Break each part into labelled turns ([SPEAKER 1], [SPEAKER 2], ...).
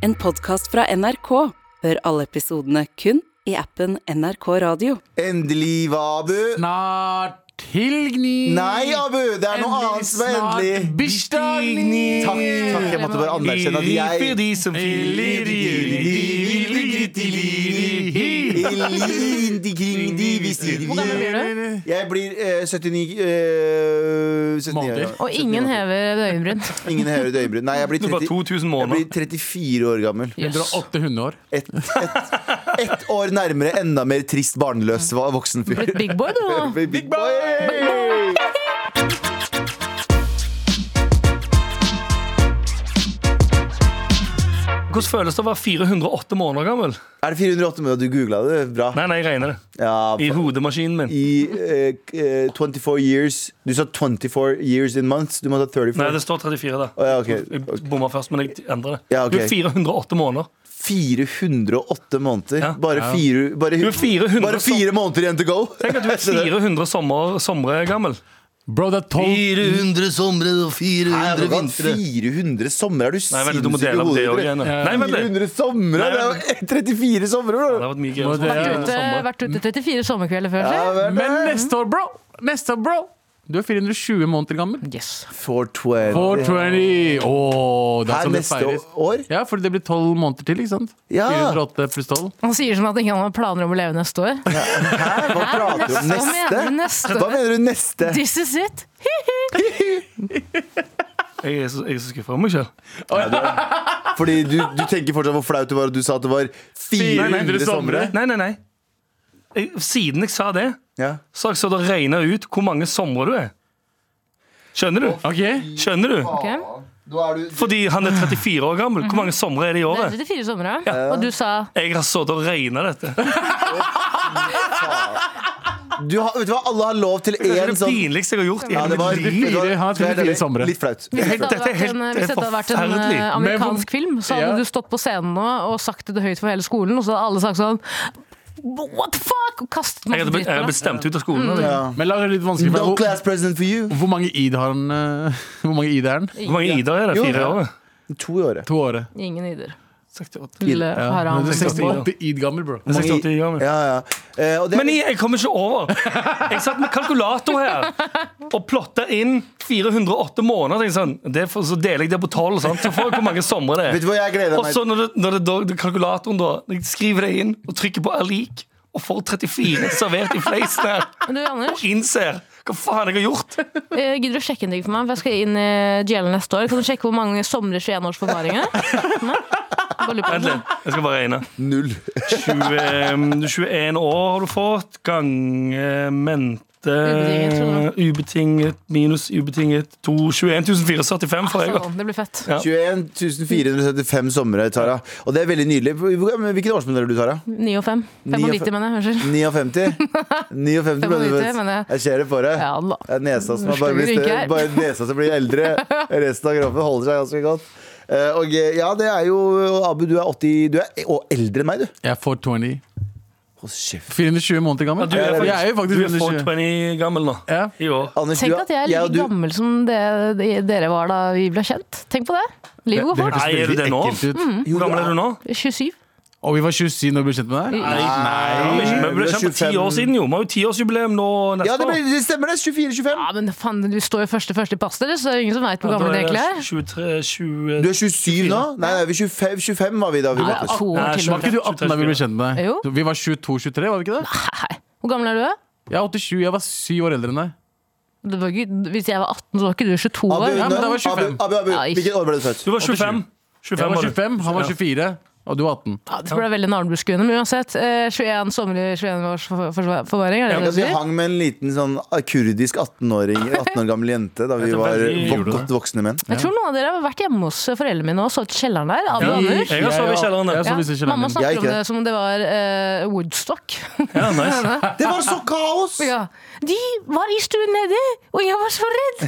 [SPEAKER 1] En podkast fra NRK. Hør alle episodene kun i appen NRK Radio.
[SPEAKER 2] Endelig, hva, Abu?
[SPEAKER 3] Snart tilgni.
[SPEAKER 2] Nei, Abu! Det er noe annet som er endelig. Takk, takk, jeg måtte bare anerkjenne at jeg
[SPEAKER 4] Hvor gammel blir du?
[SPEAKER 2] Jeg blir eh, 79 eh, 79
[SPEAKER 3] Måneder.
[SPEAKER 2] år.
[SPEAKER 4] Og ingen hever et øyenbryn.
[SPEAKER 2] Ingen hever et øyenbryn. Nei, jeg blir,
[SPEAKER 5] Det var
[SPEAKER 2] 30,
[SPEAKER 5] 2000
[SPEAKER 2] jeg blir
[SPEAKER 5] måneder.
[SPEAKER 2] 34 år gammel.
[SPEAKER 4] Jøss.
[SPEAKER 3] Dere er 800 år.
[SPEAKER 2] Ett et, et år nærmere enda mer trist, barnløs va- voksen fyr.
[SPEAKER 4] Blitt big boy, du nå.
[SPEAKER 2] Big boy!
[SPEAKER 5] Hvordan føles det å være 408 måneder gammel?
[SPEAKER 2] Er det 408 med? Du googla det? Bra.
[SPEAKER 5] Nei, nei, jeg regner det.
[SPEAKER 2] Ja,
[SPEAKER 5] I hodemaskinen min.
[SPEAKER 2] i eh, k- eh, 24 years Du sa 24 years in months. Du må ta 34.
[SPEAKER 5] Nei, det står 34 der.
[SPEAKER 2] Å, ja, ok.
[SPEAKER 5] Jeg
[SPEAKER 2] Ok.
[SPEAKER 5] bomma først, men jeg endrer det.
[SPEAKER 2] Ja, ok.
[SPEAKER 5] Du er 408 måneder.
[SPEAKER 2] 408 måneder.
[SPEAKER 5] Ja.
[SPEAKER 2] Bare,
[SPEAKER 3] Ja.
[SPEAKER 2] fire, bare,
[SPEAKER 5] Du er 400
[SPEAKER 2] bare fire måneder igjen to go!
[SPEAKER 5] Tenk at du er 400 sommer, somre gammel.
[SPEAKER 3] Bro, det er 12
[SPEAKER 6] 400 somre og 400
[SPEAKER 2] 400,
[SPEAKER 6] vintre.
[SPEAKER 2] 400 somre? Er du
[SPEAKER 5] Nei, vent, du må dele opp det òg igjen. ja. Nei, vent litt.
[SPEAKER 2] 400 somre?
[SPEAKER 5] Nei,
[SPEAKER 2] Det er jo 34 somre,
[SPEAKER 5] Det
[SPEAKER 2] bro!
[SPEAKER 5] har vært mye
[SPEAKER 3] Må dele
[SPEAKER 4] Vært
[SPEAKER 3] Ja,
[SPEAKER 4] ute,
[SPEAKER 5] gøy.
[SPEAKER 4] vært ute 34 sommerkvelder før,
[SPEAKER 2] Ja,
[SPEAKER 4] si.
[SPEAKER 2] vel,
[SPEAKER 3] Men neste år, bro! Neste år, bro! Du er 420 måneder gammel.
[SPEAKER 4] Yes.
[SPEAKER 2] 420.
[SPEAKER 3] 420! Åh, det er
[SPEAKER 2] Her
[SPEAKER 3] som det
[SPEAKER 2] neste
[SPEAKER 3] feires.
[SPEAKER 2] år?
[SPEAKER 3] Ja, for det blir 12 måneder til, ikke sant?
[SPEAKER 2] Ja.
[SPEAKER 3] 408 pluss 12.
[SPEAKER 4] Han sier som at ingen har planer om å leve neste år.
[SPEAKER 2] Hæ? Hva prater du om?
[SPEAKER 4] Hva
[SPEAKER 2] Neste?
[SPEAKER 4] mener du neste?
[SPEAKER 2] Hva mener du neste?
[SPEAKER 4] This is it.
[SPEAKER 5] Jeg er så, jeg er så skuffa over meg selv.
[SPEAKER 2] Fordi du, du tenker fortsatt hvor flaut det var at du sa at det var 400 somre?
[SPEAKER 5] Nei, nei, nei. Jeg, siden jeg sa det,
[SPEAKER 2] Ja.
[SPEAKER 5] så har jeg stått og regna ut hvor mange somre du er. Skjønner du?
[SPEAKER 3] Ok,
[SPEAKER 5] Skjønner du?
[SPEAKER 4] Ok?
[SPEAKER 5] Fordi han er 34 år gammel. Hvor mange somre er
[SPEAKER 4] Det
[SPEAKER 5] det i
[SPEAKER 4] er
[SPEAKER 5] året?
[SPEAKER 4] 34 somre, og du sa
[SPEAKER 5] Jeg har sittet og regna dette.
[SPEAKER 2] Du har, vet du hva, alle har lov til
[SPEAKER 5] Det er
[SPEAKER 2] én
[SPEAKER 5] det
[SPEAKER 2] sånn
[SPEAKER 5] pinligste jeg har gjort i
[SPEAKER 2] Ja, det
[SPEAKER 5] hele
[SPEAKER 2] var-
[SPEAKER 5] mitt liv.
[SPEAKER 2] vet du hva,
[SPEAKER 3] Fire- han har
[SPEAKER 2] skal jeg være
[SPEAKER 3] 34
[SPEAKER 2] ærlig,
[SPEAKER 3] somre.
[SPEAKER 2] Litt flaut.
[SPEAKER 4] Hvis
[SPEAKER 5] Helt-
[SPEAKER 4] dette
[SPEAKER 5] Dette er
[SPEAKER 4] Hvis
[SPEAKER 5] helt det er
[SPEAKER 4] dette hadde vært en eh,
[SPEAKER 5] forferdelig.
[SPEAKER 3] Men hvor-
[SPEAKER 4] amerikansk film, så
[SPEAKER 3] Ja.
[SPEAKER 4] hadde du stått på scenen nå og sagt det høyt for hele skolen, og så hadde alle sagt sånn What the fuck? Og kastet
[SPEAKER 5] Jeg
[SPEAKER 4] masse
[SPEAKER 5] hadde blitt,
[SPEAKER 4] dritt
[SPEAKER 5] jeg
[SPEAKER 4] på
[SPEAKER 5] hadde
[SPEAKER 4] deg.
[SPEAKER 5] blitt stemt ut av skolen. hadde jeg.
[SPEAKER 2] Ja.
[SPEAKER 3] Men la det litt vanskelig
[SPEAKER 2] No
[SPEAKER 3] for deg.
[SPEAKER 2] class president for you.
[SPEAKER 3] Hvor, hvor mange id har han? eh, Hvor mange id er han?
[SPEAKER 5] Hvor mange Idar er det?
[SPEAKER 2] Jo.
[SPEAKER 5] Fire i året?
[SPEAKER 2] To i året.
[SPEAKER 3] To året.
[SPEAKER 4] Ingen ider.
[SPEAKER 5] Jeg
[SPEAKER 4] Lille
[SPEAKER 3] Ja.
[SPEAKER 4] Haram.
[SPEAKER 3] Men du er
[SPEAKER 5] Seks år.
[SPEAKER 3] 68 id gammel, bro.
[SPEAKER 5] er 68 år gammel.
[SPEAKER 2] Ja, ja. Eh, og det,
[SPEAKER 5] Men jeg, jeg kommer ikke over. Jeg satt med kalkulator her og plotta inn 408 måneder. tenkte jeg Sånn. Det er for, så deler jeg det på 12, sant? så får jeg hvor mange somre
[SPEAKER 2] vet
[SPEAKER 5] det er.
[SPEAKER 2] du hva jeg gleder
[SPEAKER 5] Og
[SPEAKER 2] meg
[SPEAKER 5] så
[SPEAKER 2] til?
[SPEAKER 5] når, det, når det, da- kalkulatoren da jeg skriver det inn og trykker på er lik, og får 34 servert i fleisen her,
[SPEAKER 4] Men du, Anders,
[SPEAKER 5] og innser hva faen jeg har gjort.
[SPEAKER 4] eh, gidder du å sjekke en ting for meg? For jeg skal inn i gjelden neste år. Kan du sjekke hvor mange somre 21 års forvaring er? Nei? Bare lurer på
[SPEAKER 5] Vent
[SPEAKER 4] det.
[SPEAKER 5] litt, jeg skal bare regne.
[SPEAKER 2] Null.
[SPEAKER 5] 20, 21 år har du fått. Gange mente
[SPEAKER 4] Ubetinget, tror
[SPEAKER 5] Ubetinget minus ubetinget to- 21 475 får jeg.
[SPEAKER 4] Sånn, det blir fett.
[SPEAKER 5] Ja.
[SPEAKER 2] 21 475 somre, Tara. Og det er veldig nydelig. Hvor- men Hvilken årsmodell er du, Tara?
[SPEAKER 4] 9 og 5.
[SPEAKER 2] Ni og
[SPEAKER 4] 95,
[SPEAKER 2] fem.
[SPEAKER 4] mener jeg. Unnskyld.
[SPEAKER 2] 59? 59 ble du
[SPEAKER 4] 95,
[SPEAKER 2] født.
[SPEAKER 4] mener jeg.
[SPEAKER 2] Jeg ser det for deg.
[SPEAKER 4] Ja da.
[SPEAKER 2] Det er nesa som er bare,
[SPEAKER 4] Stor
[SPEAKER 2] blir
[SPEAKER 4] ikke
[SPEAKER 2] større,
[SPEAKER 4] her.
[SPEAKER 2] bare nesa som blir eldre. Resten av kroppen holder seg ganske godt. Eh, og eh, ja, det er jo Abu, du er 80 Du er å, eldre enn meg, du.
[SPEAKER 3] Jeg er 420.
[SPEAKER 2] Hold kjeft.
[SPEAKER 3] 420 måneder gammel.
[SPEAKER 5] Du er
[SPEAKER 3] jeg er jo
[SPEAKER 5] faktisk, du
[SPEAKER 3] faktisk
[SPEAKER 5] er
[SPEAKER 3] 420.
[SPEAKER 5] 420 gammel nå.
[SPEAKER 3] Ja.
[SPEAKER 5] I år.
[SPEAKER 2] Anders,
[SPEAKER 4] Tenk
[SPEAKER 2] du er-
[SPEAKER 4] at jeg er
[SPEAKER 2] jeg
[SPEAKER 4] like
[SPEAKER 2] og du-
[SPEAKER 4] gammel som det, det dere var da vi ble kjent. Tenk på det. Livet går fort.
[SPEAKER 3] hørtes
[SPEAKER 5] Nei, er du
[SPEAKER 3] veldig
[SPEAKER 5] det nå?
[SPEAKER 3] ekkelt ut.
[SPEAKER 4] Mm.
[SPEAKER 5] Hvor gammel er du nå?
[SPEAKER 4] 27.
[SPEAKER 3] Og vi var 27 når vi ble kjent med deg?
[SPEAKER 5] Nei,
[SPEAKER 2] Nei,
[SPEAKER 5] Vi ble kjent for ti år siden, jo. Vi har jo tiårsjubileum nå
[SPEAKER 2] Ja,
[SPEAKER 5] neste
[SPEAKER 2] det,
[SPEAKER 5] år.
[SPEAKER 2] ble, det stemmer det. 24-25.
[SPEAKER 4] Ja, men faen, du står jo første først i passet, deres, så det er ingen som veit hvor
[SPEAKER 5] Da
[SPEAKER 4] gammel du
[SPEAKER 5] er
[SPEAKER 4] egentlig
[SPEAKER 5] jeg
[SPEAKER 4] er.
[SPEAKER 5] 23, 20
[SPEAKER 2] Du er 27 nå? Nei, nei vi er 25, 25 var vi da vi
[SPEAKER 4] Nei,
[SPEAKER 2] møttes.
[SPEAKER 4] to år
[SPEAKER 5] Nei,
[SPEAKER 4] til.
[SPEAKER 3] Var ikke du 18 da vi ble kjent med deg?
[SPEAKER 4] Jo.
[SPEAKER 3] Så Vi var 22-23, var vi ikke det?
[SPEAKER 4] Nei. Hvor gammel er du? da?
[SPEAKER 3] Jeg er 87, jeg var 7 år eldre enn deg.
[SPEAKER 4] Det var ikke, hvis jeg var 18, så var ikke du 22
[SPEAKER 2] Abu,
[SPEAKER 4] år.
[SPEAKER 3] ja, men
[SPEAKER 2] nå-
[SPEAKER 3] da var jeg 25.
[SPEAKER 2] Abu, Abu, Abu,
[SPEAKER 4] Nei.
[SPEAKER 2] hvilket år ble du født?
[SPEAKER 5] Du var 25. 25
[SPEAKER 3] Jeg var
[SPEAKER 5] var du.
[SPEAKER 3] 25, han var
[SPEAKER 5] Ja.
[SPEAKER 3] 24, og du var 18.
[SPEAKER 4] Ja, det ble veldig navnebeskuende, men uansett. Eh, 21 sommer i 21 års for- for- forvaring, er det
[SPEAKER 2] Ja,
[SPEAKER 4] det du
[SPEAKER 2] vi
[SPEAKER 4] sier?
[SPEAKER 2] hang med en liten sånn kurdisk 18-åring 18 år gammel jente da vi
[SPEAKER 5] Jeg tror
[SPEAKER 2] var
[SPEAKER 5] veldig-
[SPEAKER 2] vok-
[SPEAKER 3] Gjorde
[SPEAKER 2] godt voksne menn.
[SPEAKER 4] Jeg tror noen av dere har vært hjemme hos foreldrene mine og sovet i kjelleren der. Abu
[SPEAKER 3] altså,
[SPEAKER 4] og
[SPEAKER 5] Ja.
[SPEAKER 4] Anders.
[SPEAKER 5] Jeg har sovet i
[SPEAKER 3] Ja,
[SPEAKER 5] kjelleren, da.
[SPEAKER 3] jeg har
[SPEAKER 4] Ja,
[SPEAKER 3] sovet i kjelleren
[SPEAKER 4] mamma
[SPEAKER 3] min.
[SPEAKER 2] Jeg ikke
[SPEAKER 4] snakker
[SPEAKER 2] det.
[SPEAKER 4] om det som om det var eh, Woodstock.
[SPEAKER 5] Ja, nice.
[SPEAKER 2] Det var så kaos!
[SPEAKER 4] Ja. De var i stuen nedi, og jeg var så redd!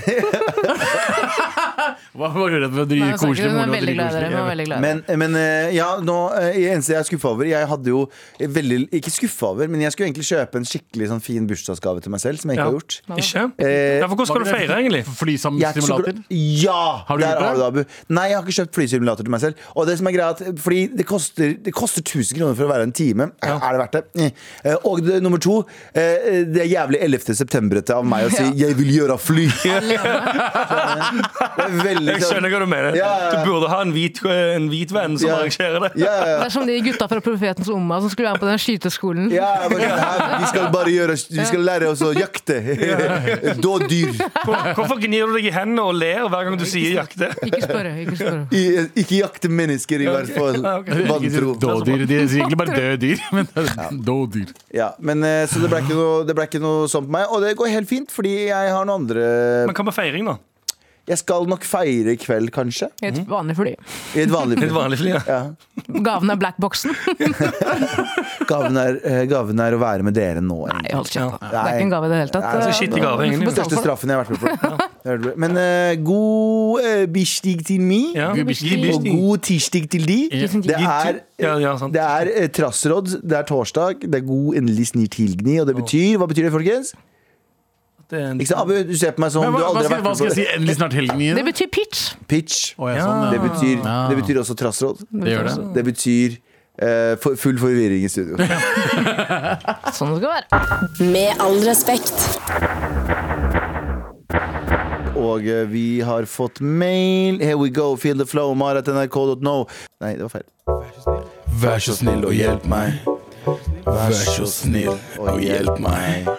[SPEAKER 3] Hva var du redd for? å
[SPEAKER 4] Nei,
[SPEAKER 3] drive
[SPEAKER 4] jeg snakker-
[SPEAKER 3] koselig
[SPEAKER 4] hun
[SPEAKER 3] moro
[SPEAKER 4] er
[SPEAKER 3] og
[SPEAKER 4] veldig
[SPEAKER 3] drive
[SPEAKER 4] glad i dere. hun er
[SPEAKER 3] koselig?
[SPEAKER 4] veldig glad i dere.
[SPEAKER 2] Men, men eh, ja, nå, eh, eneste jeg er skuffa over Jeg hadde jo veldig Ikke skuffa over, men jeg skulle egentlig kjøpe en skikkelig sånn fin bursdagsgave til meg selv, som jeg ikke har gjort.
[SPEAKER 5] Ikke?
[SPEAKER 2] Eh,
[SPEAKER 5] Ja, for hvordan skal du feire, egentlig?
[SPEAKER 2] Jeg er ikke så
[SPEAKER 3] Flystimulator?
[SPEAKER 2] glad- Ja!
[SPEAKER 3] Har du
[SPEAKER 2] der
[SPEAKER 3] gjort det?
[SPEAKER 2] har du det, Abu. Nei, jeg har ikke kjøpt flysimulator til meg selv. Og det som er greia er at, Fordi det koster, det koster 1000 kroner for å være en time. Er det verdt det? Eh, Og det, nummer to, eh, det er jævlig 11. september-ete av meg å si 'jeg vil gjøre fly'. Det er veldig
[SPEAKER 5] Jeg skjønner hva du mener.
[SPEAKER 2] Ja, ja, ja.
[SPEAKER 5] Du burde ha en hvit, en hvit venn som
[SPEAKER 2] Ja.
[SPEAKER 5] arrangerer det.
[SPEAKER 2] Ja, ja,
[SPEAKER 4] Det
[SPEAKER 2] ja.
[SPEAKER 4] er som de gutta fra Profetens Umma som skulle være med på den skyteskolen.
[SPEAKER 2] Ja, jeg bare, "Hæ, vi skal bare gjøre Vi skal lære oss å jakte. Dådyr.
[SPEAKER 5] Hvor- Hvorfor gnir du deg i hendene og ler hver gang du sier 'jakte'?
[SPEAKER 4] Ikke spørre. ikke spørre
[SPEAKER 2] I- Ikke jakte mennesker, i hvert fall. Vantro.
[SPEAKER 3] Dådyr. De sier egentlig bare døde dyr, men dådyr.
[SPEAKER 2] Ja, men eh, Så det ble ikke noe, det ble ikke noe sånn på meg. Og det går helt fint, fordi jeg har noen andre
[SPEAKER 5] Men hva med feiring, da?
[SPEAKER 2] Jeg skal nok feire i kveld, kanskje.
[SPEAKER 4] I et vanlig fly.
[SPEAKER 2] I et vanlig
[SPEAKER 5] Litt vanlig fly, ja.
[SPEAKER 2] Ja.
[SPEAKER 4] Gaven er blackboxen.
[SPEAKER 2] Gaven, er, eh, gaven er å være med dere nå. egentlig.
[SPEAKER 4] Nei, hold kjeft. da. Det
[SPEAKER 2] Nei.
[SPEAKER 4] er ikke en gave i det hele tatt.
[SPEAKER 2] Nei, altså, det er
[SPEAKER 5] så skittig gave,
[SPEAKER 4] Du får
[SPEAKER 5] egentlig.
[SPEAKER 4] betale
[SPEAKER 2] Største
[SPEAKER 4] for det.
[SPEAKER 2] straffen jeg har vært med på. Jeg har vært med- Men eh, god uh, bistig til meg,
[SPEAKER 5] ja.
[SPEAKER 4] Gud,
[SPEAKER 5] Gi
[SPEAKER 4] blir
[SPEAKER 2] og
[SPEAKER 5] bisting.
[SPEAKER 2] god tirsdag til de.
[SPEAKER 4] Tusen
[SPEAKER 2] Det
[SPEAKER 4] takk.
[SPEAKER 2] er
[SPEAKER 5] Ja, ja, sant.
[SPEAKER 2] Det er eh, trassråd, det er torsdag, det er god endelig snir tilgni, og det betyr Hva betyr det, folkens?
[SPEAKER 5] Det er en-
[SPEAKER 2] Ikke sant, Abu, du ser på meg som
[SPEAKER 3] Men
[SPEAKER 2] du
[SPEAKER 3] hva, hva,
[SPEAKER 2] aldri har
[SPEAKER 3] skal,
[SPEAKER 2] vært
[SPEAKER 3] hva
[SPEAKER 2] med
[SPEAKER 3] skal
[SPEAKER 2] på
[SPEAKER 3] jeg si? Endelig snart helgen
[SPEAKER 4] Det
[SPEAKER 3] igjen?
[SPEAKER 4] betyr pitch.
[SPEAKER 2] Pitch.
[SPEAKER 3] Å, ja, sånn,
[SPEAKER 2] Det
[SPEAKER 3] ja.
[SPEAKER 2] betyr,
[SPEAKER 3] Ja.
[SPEAKER 2] det betyr også trassråd. Altså,
[SPEAKER 3] Det gjør det.
[SPEAKER 2] Det betyr eh, for, full forvirring i studio.
[SPEAKER 4] Sånn det skal være.
[SPEAKER 7] Med all respekt.
[SPEAKER 2] Og eh, vi har fått mail. Here we go, feel the flow, maratnrk.no. Nei, det var feil.
[SPEAKER 6] Vær så snill og hjelp meg. Vær så snill og hjelp meg.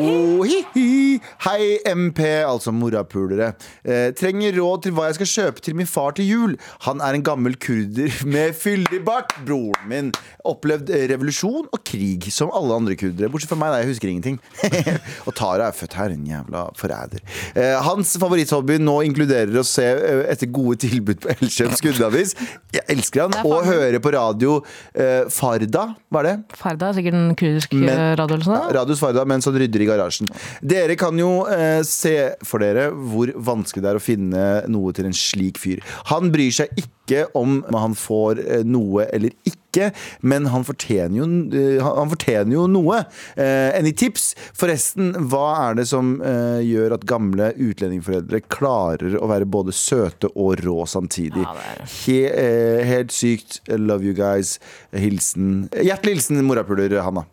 [SPEAKER 2] Oh, hi, hi. Hei, MP, altså morapulere. Eh, trenger råd til hva jeg skal kjøpe til min far til jul. Han er en gammel kurder med fyldig bart. Broren min opplevd eh, revolusjon og krig, som alle andre kurdere. Bortsett fra meg, da. Jeg husker ingenting. og Tara er født her, en jævla forræder. Eh, hans favoritthobby nå inkluderer å se eh, etter gode tilbud på Elkjøp Skuddavis. Jeg elsker han.
[SPEAKER 4] Det er
[SPEAKER 2] Og
[SPEAKER 4] faren min.
[SPEAKER 2] høre på radio eh, Farda, hva er det?
[SPEAKER 4] Farda er sikkert en kurdisk
[SPEAKER 2] Men-
[SPEAKER 4] eh, radio eller sånn.
[SPEAKER 2] Radio Svarda mens han rydder i garasjen. Dere kan jo eh, se for dere hvor vanskelig det er å finne noe til en slik fyr. Han bryr seg ikke om han får eh, noe eller ikke, men han fortjener jo, eh, han- han fortjener jo noe. Eh, Any tips? Forresten, hva er det som eh, gjør at gamle utlendingforeldre klarer å være både søte og rå samtidig?
[SPEAKER 4] Ja, det er det.
[SPEAKER 2] He, eh, helt sykt. Love you guys. Hilsen Hjertelig hilsen morapuler, Hanna.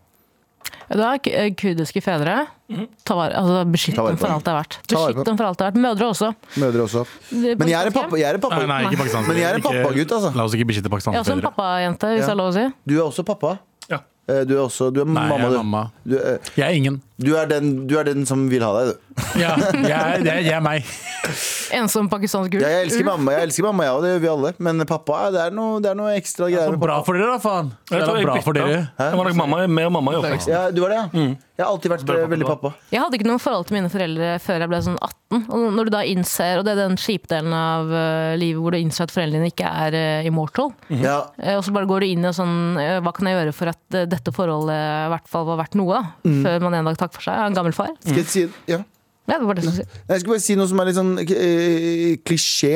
[SPEAKER 4] Da er k- eh, kurdiske fedre
[SPEAKER 2] Mhm.
[SPEAKER 4] ta vare, altså, Beskytt
[SPEAKER 2] Ta vare
[SPEAKER 4] dem
[SPEAKER 2] på
[SPEAKER 4] for
[SPEAKER 2] dem.
[SPEAKER 4] alt det er verdt.
[SPEAKER 2] Ta vare på
[SPEAKER 4] Beskytt
[SPEAKER 2] dem.
[SPEAKER 4] dem for alt det er verdt. Mødre også.
[SPEAKER 2] Mødre også. Men jeg er en pappa, jeg er en
[SPEAKER 3] Nei,
[SPEAKER 2] pappa.
[SPEAKER 3] nei, ikke pakistansk.
[SPEAKER 2] Men jeg er en
[SPEAKER 3] Ikke-
[SPEAKER 2] pappagutt, altså.
[SPEAKER 3] La oss ikke beskytte
[SPEAKER 4] Jeg er
[SPEAKER 3] pakistanske
[SPEAKER 4] også en
[SPEAKER 3] fedre.
[SPEAKER 4] pappajente, hvis
[SPEAKER 2] Ja.
[SPEAKER 4] det er lov å si.
[SPEAKER 2] Du er også pappa.
[SPEAKER 5] Ja.
[SPEAKER 2] Eh, Du er også du er
[SPEAKER 3] Nei, jeg
[SPEAKER 2] mamma,
[SPEAKER 3] er
[SPEAKER 2] du.
[SPEAKER 3] mamma.
[SPEAKER 2] Du, eh,
[SPEAKER 3] Jeg er ingen.
[SPEAKER 2] du, er den, du er den som vil ha deg, du.
[SPEAKER 3] Ja, jeg, er- jeg, er- jeg er meg.
[SPEAKER 4] Ensom pakistansk gull.
[SPEAKER 2] Ja, jeg elsker mamma, jeg elsker mamma, ja, det gjør vi alle. Men pappa, ja, det er noe, det er noe ekstra greier
[SPEAKER 3] Så
[SPEAKER 2] med
[SPEAKER 3] bra
[SPEAKER 2] pappa.
[SPEAKER 3] for dere, da, faen. Det
[SPEAKER 5] Jeg tror
[SPEAKER 3] er
[SPEAKER 5] jeg
[SPEAKER 3] bra for
[SPEAKER 5] bytter.
[SPEAKER 3] dere.
[SPEAKER 5] Jeg var nok mamma, mer mamma i oppveksten.
[SPEAKER 2] Ja, du var det,
[SPEAKER 3] Mm.
[SPEAKER 2] ja? Jeg har alltid vært
[SPEAKER 5] Bra
[SPEAKER 2] eh,
[SPEAKER 5] pappa,
[SPEAKER 2] veldig
[SPEAKER 5] bra.
[SPEAKER 2] pappa.
[SPEAKER 4] Jeg hadde ikke noe forhold til mine foreldre før jeg ble sånn 18. Og når du da innser, og det er den kjipe delen av eh, livet hvor du innser at foreldrene dine ikke er eh, immortal,
[SPEAKER 3] Mm.
[SPEAKER 2] Ja,
[SPEAKER 4] eh, og så bare går du inn i en sånn eh, Hva kan jeg gjøre for at eh, dette forholdet i hvert fall var verdt noe, da?
[SPEAKER 2] Mm.
[SPEAKER 4] Før man en dag takker for seg. Jeg er en gammel far.
[SPEAKER 2] skal jeg si ja.
[SPEAKER 4] Ja, det var det jeg skulle si.
[SPEAKER 2] Nei, Jeg skulle bare si noe som er litt sånn eh, klisjé.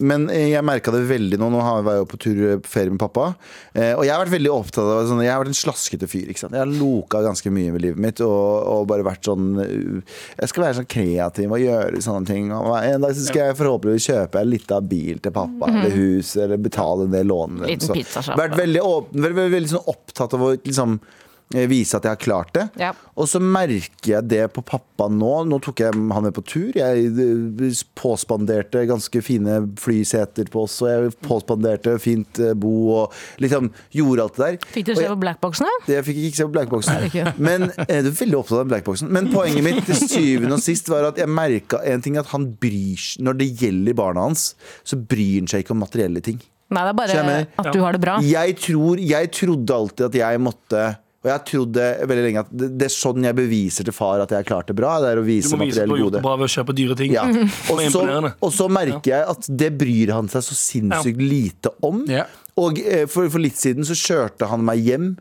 [SPEAKER 2] Men eh, jeg merka det veldig nå. Nå har- var jeg jo på tur eh, på ferie med pappa. Eh, Og jeg har vært veldig opptatt av sånn, Jeg har vært en slaskete fyr. ikke sant? Jeg har loka ganske mye med livet mitt og, og bare vært sånn eh, Jeg skal være sånn kreativ og gjøre sånne ting. Og en dag så skal jeg forhåpentligvis kjøpe en liten bil til pappa eller hus eller betale en del lån.
[SPEAKER 4] Liten
[SPEAKER 2] Så
[SPEAKER 4] pizzasjappe.
[SPEAKER 2] Vært veldig, åpen, veldig, veldig, veldig sånn opptatt av å liksom eh, vise at jeg har klart det.
[SPEAKER 4] Ja.
[SPEAKER 2] Og så merker jeg det på pappa nå. Nå tok jeg han med på tur. Jeg eh, påspanderte ganske fine flyseter på oss, og jeg påspanderte fint eh, bo og liksom gjorde alt det der.
[SPEAKER 4] Fikk dere
[SPEAKER 2] Og
[SPEAKER 4] se
[SPEAKER 2] jeg-
[SPEAKER 4] på blackboxene?
[SPEAKER 2] det- Jeg fikk ikke se på
[SPEAKER 4] Nei, det er
[SPEAKER 2] blackboxen. Men eh, du er veldig opptatt av blackboxen. Men poenget mitt til syvende og sist var at jeg merka en ting, at han bryr seg Når det gjelder barna hans, så bryr han seg ikke om materielle ting.
[SPEAKER 4] Nei, det er bare
[SPEAKER 2] Skjønner.
[SPEAKER 4] at du har det bra.
[SPEAKER 2] Jeg tror, jeg trodde alltid at jeg måtte og jeg trodde veldig lenge at det, det er sånn jeg beviser til far at jeg har klart det bra. Det er å
[SPEAKER 5] Du
[SPEAKER 2] vise
[SPEAKER 5] må vise at
[SPEAKER 2] materielle
[SPEAKER 5] du har gjort
[SPEAKER 2] gode.
[SPEAKER 5] det bra ved å kjøpe dyre ting.
[SPEAKER 2] Ja. Og,
[SPEAKER 5] Det er
[SPEAKER 2] så,
[SPEAKER 5] imponerende.
[SPEAKER 2] og så merker jeg at det bryr han seg så sinnssykt lite om.
[SPEAKER 3] Ja.
[SPEAKER 2] Og eh, for, for litt siden så kjørte han meg hjem.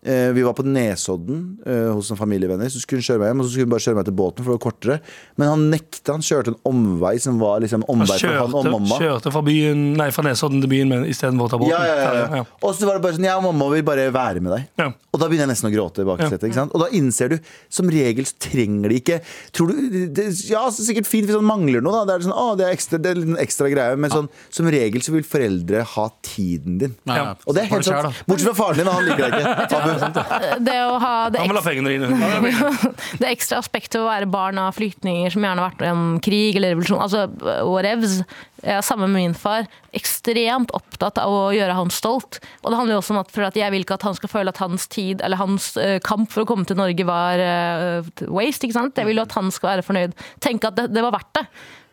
[SPEAKER 2] Eh, vi var på Nesodden eh, hos noen familievenner. Så skulle hun kjøre meg hjem, og så skulle hun bare kjøre meg til båten, for det var kortere. Men han nekta. Han kjørte en omvei som var liksom omvei for han og
[SPEAKER 5] Kjørte,
[SPEAKER 2] mamma.
[SPEAKER 5] kjørte fra byen, nei, fra Nesodden til byen men istedenfor å ta båten.
[SPEAKER 2] Ja, ja, ja,
[SPEAKER 5] Ferdig,
[SPEAKER 2] ja. Og så var det bare sånn, ja, mamma vil bare være med deg.
[SPEAKER 5] Ja.
[SPEAKER 2] Og da begynner jeg nesten å gråte. i baksetet, ikke sant? Og da innser du, som regel så trenger de ikke tror du, det, Ja, så sikkert fint hvis han mangler noe, da. Det er, sånn, å, det er, ekstra, det er en ekstra greie. Men sånn, som regel så vil foreldre ha tiden din.
[SPEAKER 5] Ja.
[SPEAKER 2] Og det er helt
[SPEAKER 3] Bare kjær,
[SPEAKER 2] sant. Bortsett fra faren din, han liker deg ikke. Abu.
[SPEAKER 4] Det å ha det
[SPEAKER 5] Han vil
[SPEAKER 4] ekstra
[SPEAKER 5] ha pengene dine.
[SPEAKER 4] det ekstra aspektet ved å være barn av flyktninger som gjerne har vært i en krig eller revolusjon, altså whatevs. Jeg er sammen med min far. Ekstremt opptatt av å gjøre han stolt. Og det handler jo også om at, for at jeg vil ikke at han skal føle at hans tid, eller hans eh, kamp for å komme til Norge var eh, waste, ikke sant? Jeg vil jo at han skal være fornøyd. Tenke at det, det var verdt det.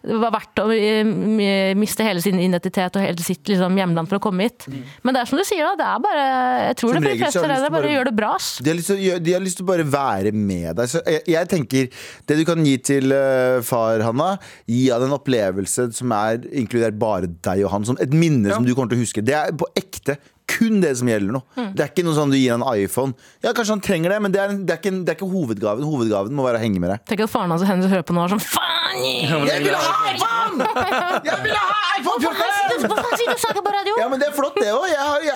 [SPEAKER 4] Det var verdt å eh, m- miste hele sin identitet og hele sitt liksom, hjemland for å komme hit. Men det er som du sier, da. Det er bare Jeg tror
[SPEAKER 2] Som
[SPEAKER 4] det for
[SPEAKER 2] regel
[SPEAKER 4] de
[SPEAKER 2] så
[SPEAKER 4] fleste
[SPEAKER 2] har jeg lyst
[SPEAKER 4] foreldre
[SPEAKER 2] til
[SPEAKER 4] bare
[SPEAKER 2] bare-
[SPEAKER 4] gjør det bra. ass.
[SPEAKER 2] De har, lyst til, å gjø- de har lyst til å bare være med deg. Så jeg, jeg tenker Det du kan gi til eh, far, Hanna, gi han en opplevelse som er inkludert bare deg og han. Som et minne som du kommer til å huske. Det er på ekte kun det som gjelder nå. Det er ikke noe sånn du gir han en iPhone. Ja, kanskje han trenger det, men det er, en- det er, ikke, en- det er ikke hovedgaven. Hovedgaven må være å henge med deg.
[SPEAKER 4] Tenk at faren hans og hennes hører på nå og er sånn Faen!
[SPEAKER 2] Jeg ville ha iPhone! Jeg ville ha iPhone
[SPEAKER 4] Hvorfor
[SPEAKER 2] 14!
[SPEAKER 4] sitter du og snakker på radio?
[SPEAKER 2] Ja, men Det er flott, det òg.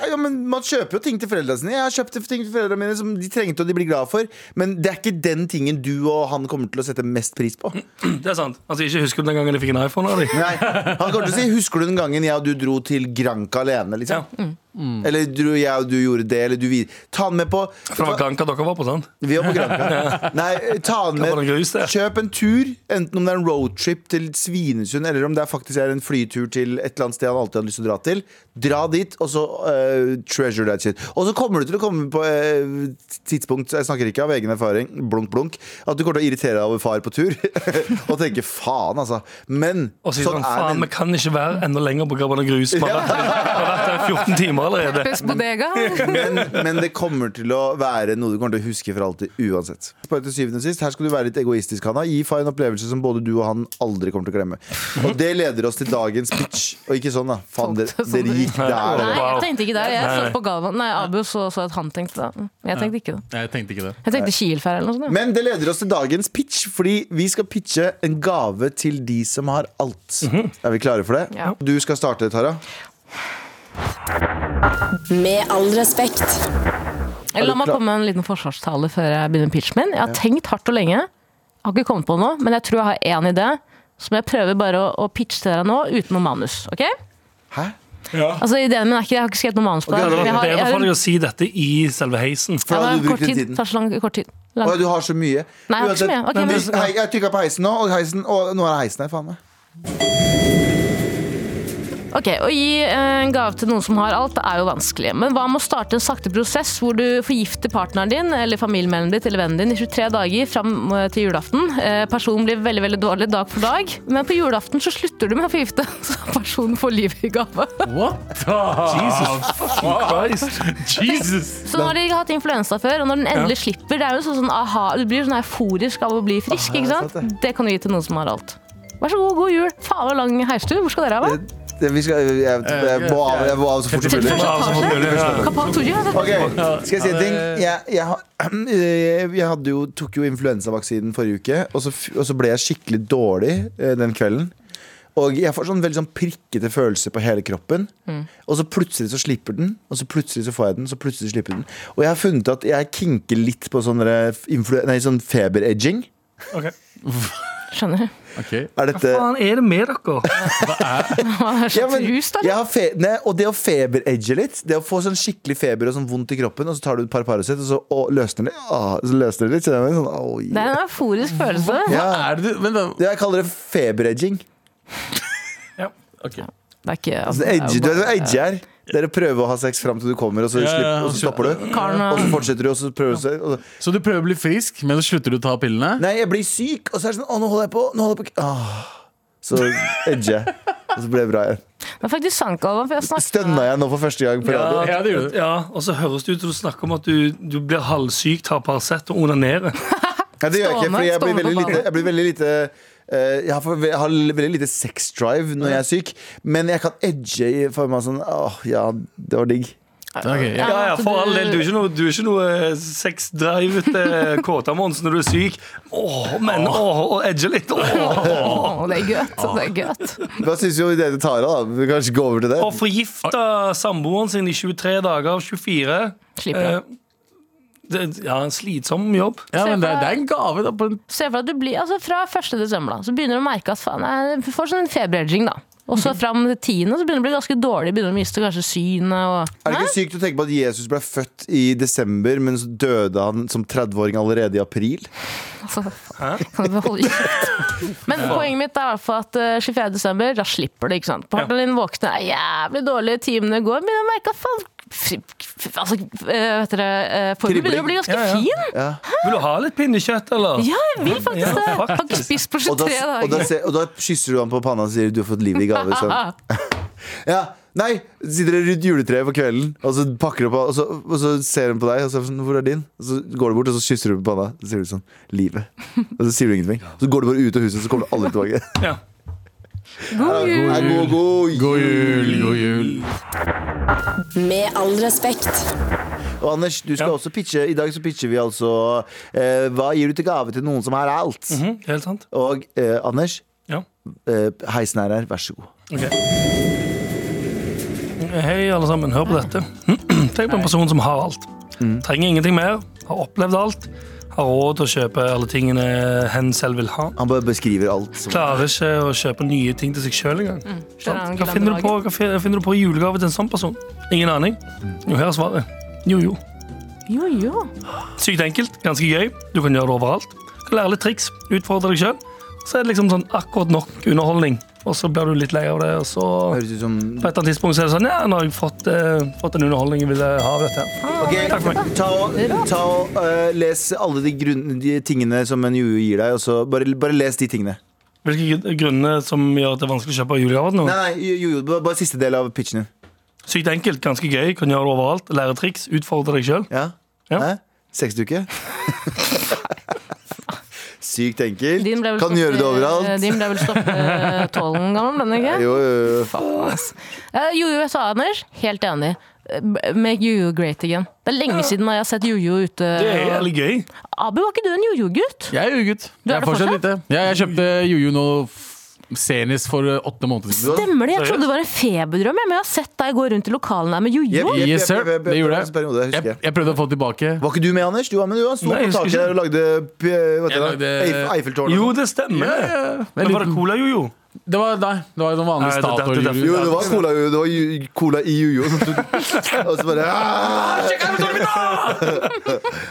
[SPEAKER 2] Ja, men man kjøper jo ting til foreldrene sine. Jeg har kjøpt ting til foreldrene mine som de trengte og de blir glad for. Men det er ikke den tingen du og han kommer til å sette mest pris på.
[SPEAKER 5] Det er sant. Altså, ikke husker du den gangen jeg fikk en iPhone av dem.
[SPEAKER 2] Nei, Han kommer til å si 'Husker du den gangen jeg og du dro til Granca alene?' Liksom.
[SPEAKER 5] Mm.
[SPEAKER 2] Eller dro jeg og du gjorde det, eller du vi Ta han med på
[SPEAKER 5] For det var Granca dere var på, sant?
[SPEAKER 2] Vi var på Granca. Nei, ta han
[SPEAKER 5] Det var
[SPEAKER 2] med.
[SPEAKER 5] en grus, det.
[SPEAKER 2] Kjøp en tur, enten om det er en roadtrip til Svinesund, eller om det er faktisk er en flytur til et eller annet sted han alltid hadde lyst til å dra til. Dra dit, og så eh, treasure that shit. Og så kommer du til å komme på eh, tidspunkt, jeg snakker ikke av egen erfaring, blunk, blunk, at du kommer til å irritere deg over far på tur, og tenke faen, altså. Men sånn
[SPEAKER 5] Og så sier han faen, vi
[SPEAKER 2] men-
[SPEAKER 5] kan ikke være enda lenger på Grabban og grus. Man har vært der- man har vært der i 14 timer allerede.
[SPEAKER 2] men, men det kommer til å være noe du kommer til å huske for alltid uansett. På til syvende og sist, Her skal du være litt egoistisk, Hanna. Gi far en opplevelse som både du og han aldri kommer til å glemme. Og det leder oss til dagens pitch. Og ikke sånn, da. Faen, dere, dere gikk der.
[SPEAKER 4] Nei,
[SPEAKER 2] da.
[SPEAKER 4] jeg tenkte ikke det. Jeg så på Galvan. Nei, Abu så, så at han tenkte det. Jeg tenkte ikke det.
[SPEAKER 3] Jeg tenkte ikke det.
[SPEAKER 4] Jeg tenkte Kielferie eller noe sånt.
[SPEAKER 2] Men det leder oss til dagens pitch, fordi vi skal pitche en gave til de som har alt. Er vi klare for det?
[SPEAKER 4] Mhm. Ja.
[SPEAKER 2] Du skal starte, Tara.
[SPEAKER 7] Med all respekt.
[SPEAKER 4] ja. Eller La meg
[SPEAKER 2] klar?
[SPEAKER 4] komme med en liten forsvarstale før jeg begynner pitchen min. Jeg har tenkt hardt og lenge. Jeg har ikke kommet på noe, men jeg tror jeg har én idé. Som jeg prøver bare å, å pitche til dere nå, uten noe manus. ok?
[SPEAKER 2] Hæ?
[SPEAKER 4] Altså, ideen min er ikke, Jeg har ikke skrevet noe manus på
[SPEAKER 5] Det
[SPEAKER 4] det.
[SPEAKER 5] hadde
[SPEAKER 4] Jeg
[SPEAKER 5] vært
[SPEAKER 4] har, jeg
[SPEAKER 5] bedre
[SPEAKER 4] har,
[SPEAKER 5] for deg å si dette i selve heisen.
[SPEAKER 2] For da
[SPEAKER 4] Ja,
[SPEAKER 2] hadde
[SPEAKER 4] men
[SPEAKER 2] du brukt
[SPEAKER 4] kort
[SPEAKER 2] litt
[SPEAKER 4] tid.
[SPEAKER 2] tiden.
[SPEAKER 4] Tar så lang kort tid. Lang.
[SPEAKER 2] Å, du har så mye.
[SPEAKER 4] Nei, jeg har ikke så mye. Ok,
[SPEAKER 2] men
[SPEAKER 4] men-
[SPEAKER 2] hvis, hei, jeg trykka på heisen nå, og heisen, og nå er det heisen her, faen meg.
[SPEAKER 4] Ok, Å gi eh, en gave til noen som har alt, det er jo vanskelig. Men hva med å starte en sakte prosess hvor du forgifter partneren din eller familiemedlemmet ditt eller vennen din i 23 dager fram eh, til julaften? Eh, personen blir veldig veldig dårlig dag for dag, men på julaften så slutter du med å forgifte, så personen får livet i gave.
[SPEAKER 3] What? Jesus.
[SPEAKER 5] Christ.
[SPEAKER 3] Jesus.
[SPEAKER 4] Så når de har hatt influensa før, og når den endelig slipper, det er jo sånn, sånn aha, du blir sånn euforisk av å bli frisk, ikke sant?
[SPEAKER 2] Ah, sant
[SPEAKER 4] Det kan du gi til noen som har alt. Vær så god, god jul. Faen, hvor lang heistur. Hvor skal dere ha? hva?
[SPEAKER 2] Det, vi skal, jeg, jeg, må av, Eh, jeg må av så fort som
[SPEAKER 4] Til
[SPEAKER 2] mulig.
[SPEAKER 4] første
[SPEAKER 5] Ja, så
[SPEAKER 4] etasje?
[SPEAKER 5] mulig, ja.
[SPEAKER 4] Kapal Torje?
[SPEAKER 2] Ok, Skal jeg si en ting? Jeg, jeg, har- jeg hadde jo, tok jo influensavaksinen forrige uke, og så, f- og så ble jeg skikkelig dårlig eh, den kvelden. Og jeg får sånn veldig sånn prikkete følelse på hele kroppen. Og så plutselig så slipper den, og så plutselig så får jeg den, så plutselig slipper den. Og jeg har funnet at jeg kinker litt på sånn der influ- nei, sånn feber-edging.
[SPEAKER 3] Eh,
[SPEAKER 5] Ok.
[SPEAKER 4] Skjønner.
[SPEAKER 3] Ok.
[SPEAKER 2] Er dette
[SPEAKER 5] Hva faen er det med dere?
[SPEAKER 2] Ja, men
[SPEAKER 4] Rus, da, eller?
[SPEAKER 2] jeg har fe nei, og det å feberedge litt, det å få sånn skikkelig feber og sånn vondt i kroppen, og så tar du et par Paracet, og så å, løsner det ah, Så løsner det litt. Så det er sånn, oh,
[SPEAKER 4] Det er en euforisk følelse.
[SPEAKER 2] Ja.
[SPEAKER 3] Er det du? Vent, da.
[SPEAKER 2] Det jeg kaller det feberedging.
[SPEAKER 3] Ok.
[SPEAKER 4] Det er ikke
[SPEAKER 2] Altså, edge, du vet hva edge er? Det er å prøve å ha sex fram til du kommer, og så,
[SPEAKER 3] Ja, ja,
[SPEAKER 2] slipper,
[SPEAKER 3] ja.
[SPEAKER 2] og så stopper du.
[SPEAKER 4] Karen, um,
[SPEAKER 2] Og så fortsetter du, og så prøver du seg. Og så,
[SPEAKER 3] Så du prøver å bli frisk, men så slutter du å ta pillene?
[SPEAKER 2] nei, jeg blir syk, og så er det sånn Å, nå holder jeg på. Nå holder jeg på. Ah. Så edger jeg. Og så ble det bra igjen.
[SPEAKER 4] Det er faktisk sant, Galvan, for jeg snakket
[SPEAKER 2] Stønna jeg nå for første gang på radio?
[SPEAKER 3] Ja, det gjorde du.
[SPEAKER 5] Ja, og så høres det ut som du snakker om at du, du blir halvsyk, tar Paracet og onanerer.
[SPEAKER 2] Nei, det gjør jeg ikke,
[SPEAKER 4] Stående-
[SPEAKER 2] for jeg blir
[SPEAKER 4] stående
[SPEAKER 2] veldig
[SPEAKER 4] på
[SPEAKER 2] lite,
[SPEAKER 4] banen.
[SPEAKER 2] jeg blir veldig lite eh, jeg, har for, jeg har veldig lite sex drive når jeg er syk, men jeg kan edge i form av sånn Åh, ja, det var digg.
[SPEAKER 3] Ok, ja.
[SPEAKER 5] Ja, ja,
[SPEAKER 4] at
[SPEAKER 5] for all
[SPEAKER 4] du-
[SPEAKER 5] del. Du er ikke noe, du er ikke noe eh, sexdrivete kåtamons når du er syk. Åh, men åh, og edge litt. Åh.
[SPEAKER 4] Å, det er gøt. Det er gøt.
[SPEAKER 2] Hva syns du om ideen til Tara? da? Vi kan kanskje gå over til det?
[SPEAKER 5] Og forgifta samboeren sin i 23 dager av 24.
[SPEAKER 4] Slipper han.
[SPEAKER 5] Eh, det, ja, en slitsom jobb.
[SPEAKER 3] ja, men det er, det er en gave, da. På en,
[SPEAKER 4] Se for deg at du blir, altså Fra 1. desember da, så begynner du å merke at faen, jeg får sånn feberedging. da. Og så fram til 10. så begynner det å bli ganske dårlig. Begynner å miste kanskje synet. og...
[SPEAKER 2] Er det ikke sykt å tenke på at Jesus ble født i desember, men så døde han som 30-åring allerede i april?
[SPEAKER 4] Altså, kan du holde kjeft? Men poenget mitt er i hvert fall at eh, 24. desember, da slipper det. ikke sant? Partneren din våkner, er jævlig dårlig, timene går, begynner å merke at faen f- f- altså, eh, vet dere, eh, Formen begynner å bli ganske
[SPEAKER 5] Ja, ja.
[SPEAKER 4] fin!
[SPEAKER 5] Vil du ha litt pinnekjøtt, eller?
[SPEAKER 4] Ja, jeg vil faktisk det!
[SPEAKER 5] Ja,
[SPEAKER 4] Jeg har ikke
[SPEAKER 5] faktisk.
[SPEAKER 4] spist på
[SPEAKER 2] Og da, og,
[SPEAKER 4] 23
[SPEAKER 2] da
[SPEAKER 4] dager.
[SPEAKER 2] ser, og da kysser du ham på panna og sier du har fått livet i gave. Sånn. Ja, nei, sitter dere rundt juletreet på kvelden, og så pakker du på og så, og så ser hun på deg og så er hun sånn, hvor er din? Og så går du bort og så kysser du på panna. Så sier du sånn livet. Og så sier du ingenting. Så går du bare ut av huset, så kommer du aldri tilbake.
[SPEAKER 5] Ja.
[SPEAKER 4] God jul!
[SPEAKER 2] Nei, god, god jul.
[SPEAKER 3] god jul, god jul.
[SPEAKER 7] Med all respekt.
[SPEAKER 2] Og Anders, du skal
[SPEAKER 5] Ja.
[SPEAKER 2] også pitche. I dag så pitcher vi altså eh, Hva gir du til gave til noen som har alt?
[SPEAKER 5] Mhm, helt sant.
[SPEAKER 2] Og eh, Anders,
[SPEAKER 5] Ja.
[SPEAKER 2] eh, heisen er her, vær så god.
[SPEAKER 5] Ok. Hei, alle sammen. Hør på dette. Tenk på en person som har alt. Trenger ingenting mer. Har opplevd alt. Har råd til å kjøpe alle tingene hen selv vil ha.
[SPEAKER 2] Han bare beskriver alt. Som,
[SPEAKER 5] Klarer ikke å kjøpe nye ting til seg sjøl engang. Ikke
[SPEAKER 4] Mm, det er en
[SPEAKER 5] sant? Hva
[SPEAKER 4] glad
[SPEAKER 5] finner, du
[SPEAKER 4] dag.
[SPEAKER 5] på, hva fi- finner du på i julegave til en sånn person? Ingen aning. Jo, her er svaret. Jo, jo.
[SPEAKER 4] Jo, jo.
[SPEAKER 5] Sykt enkelt, ganske gøy. Du kan gjøre det overalt. Du kan lære litt triks, utfordre deg sjøl. Så er det liksom sånn akkurat nok underholdning, og så blir du litt lei av det, og så
[SPEAKER 2] høres ut som
[SPEAKER 5] på et eller annet tidspunkt så er det sånn Ja, nå har jeg fått, eh, fått den underholdningen jeg ville ha. Vet jeg.
[SPEAKER 2] Ok,
[SPEAKER 5] Takk for meg.
[SPEAKER 2] ta og, ta og eh, les alle de, grunn, de tingene som en juju gir deg, og så bare, bare les de tingene.
[SPEAKER 5] Hvilke gr- grunner som gjør at det er vanskelig å kjøpe julegaver til
[SPEAKER 2] Nei,
[SPEAKER 5] noen?
[SPEAKER 2] nei, juju, bare, bare siste del av pitchen din.
[SPEAKER 5] Sykt enkelt, ganske gøy, kan gjøre det overalt. Lære triks, utfordre deg sjøl.
[SPEAKER 2] Ja?
[SPEAKER 5] Ja.
[SPEAKER 2] Hæ? Sexduke? Sykt enkelt.
[SPEAKER 4] Din ble vel
[SPEAKER 2] Kan
[SPEAKER 4] stoppe-
[SPEAKER 2] gjøre det overalt.
[SPEAKER 4] Din ble vel stoppe tollen gammel, ble den ikke?
[SPEAKER 2] Jo, jo, jo.
[SPEAKER 4] Faen, ass. Eh, Jojo jeg sa, Anders, helt enig. Eh, b- Make Jojo great again. Det er lenge siden jeg har sett Jojo ute.
[SPEAKER 5] Det er jævlig gøy.
[SPEAKER 4] Abu, var ikke du en jojo-gutt?
[SPEAKER 3] Jeg er ugutt.
[SPEAKER 4] Du
[SPEAKER 3] Jeg
[SPEAKER 4] er
[SPEAKER 3] er
[SPEAKER 4] det
[SPEAKER 3] fortsatt lite.
[SPEAKER 4] fortsatt?
[SPEAKER 3] Ja, jeg kjøpte jojo nå f- senest for eh, åtte måneder siden.
[SPEAKER 4] Stemmer det? Jeg
[SPEAKER 5] Seriøst?
[SPEAKER 4] trodde det var en feberdrøm, jeg, men jeg har sett deg gå rundt i lokalene her med
[SPEAKER 2] Jepp,
[SPEAKER 4] jojo.
[SPEAKER 2] jepp,
[SPEAKER 3] Yes, sir.
[SPEAKER 2] jepp, jepp, jepp,
[SPEAKER 3] Det gjorde
[SPEAKER 2] det var en periode, jeg
[SPEAKER 3] jeg.
[SPEAKER 2] husker
[SPEAKER 3] jeg. Jeg prøvde å få det tilbake.
[SPEAKER 2] Var ikke du med, Anders? Du var med, du. Han sto
[SPEAKER 5] Nei, jeg
[SPEAKER 2] på
[SPEAKER 5] husker
[SPEAKER 2] taket
[SPEAKER 5] ikke.
[SPEAKER 2] der og lagde, p- hva heter
[SPEAKER 3] Jeg
[SPEAKER 2] det?
[SPEAKER 3] lagde-
[SPEAKER 2] Eif- Eiffeltårnet.
[SPEAKER 5] Jo, det stemmer.
[SPEAKER 3] Ja, ja, ja.
[SPEAKER 5] Men var det cola, jojo?
[SPEAKER 3] Det var, nei, det var noen vanlige
[SPEAKER 5] Nei, det- det- det-
[SPEAKER 3] Statoil-jojo.
[SPEAKER 2] Jo, det var cola, jo, det var ju- cola i jojo. Og så bare «Ah!»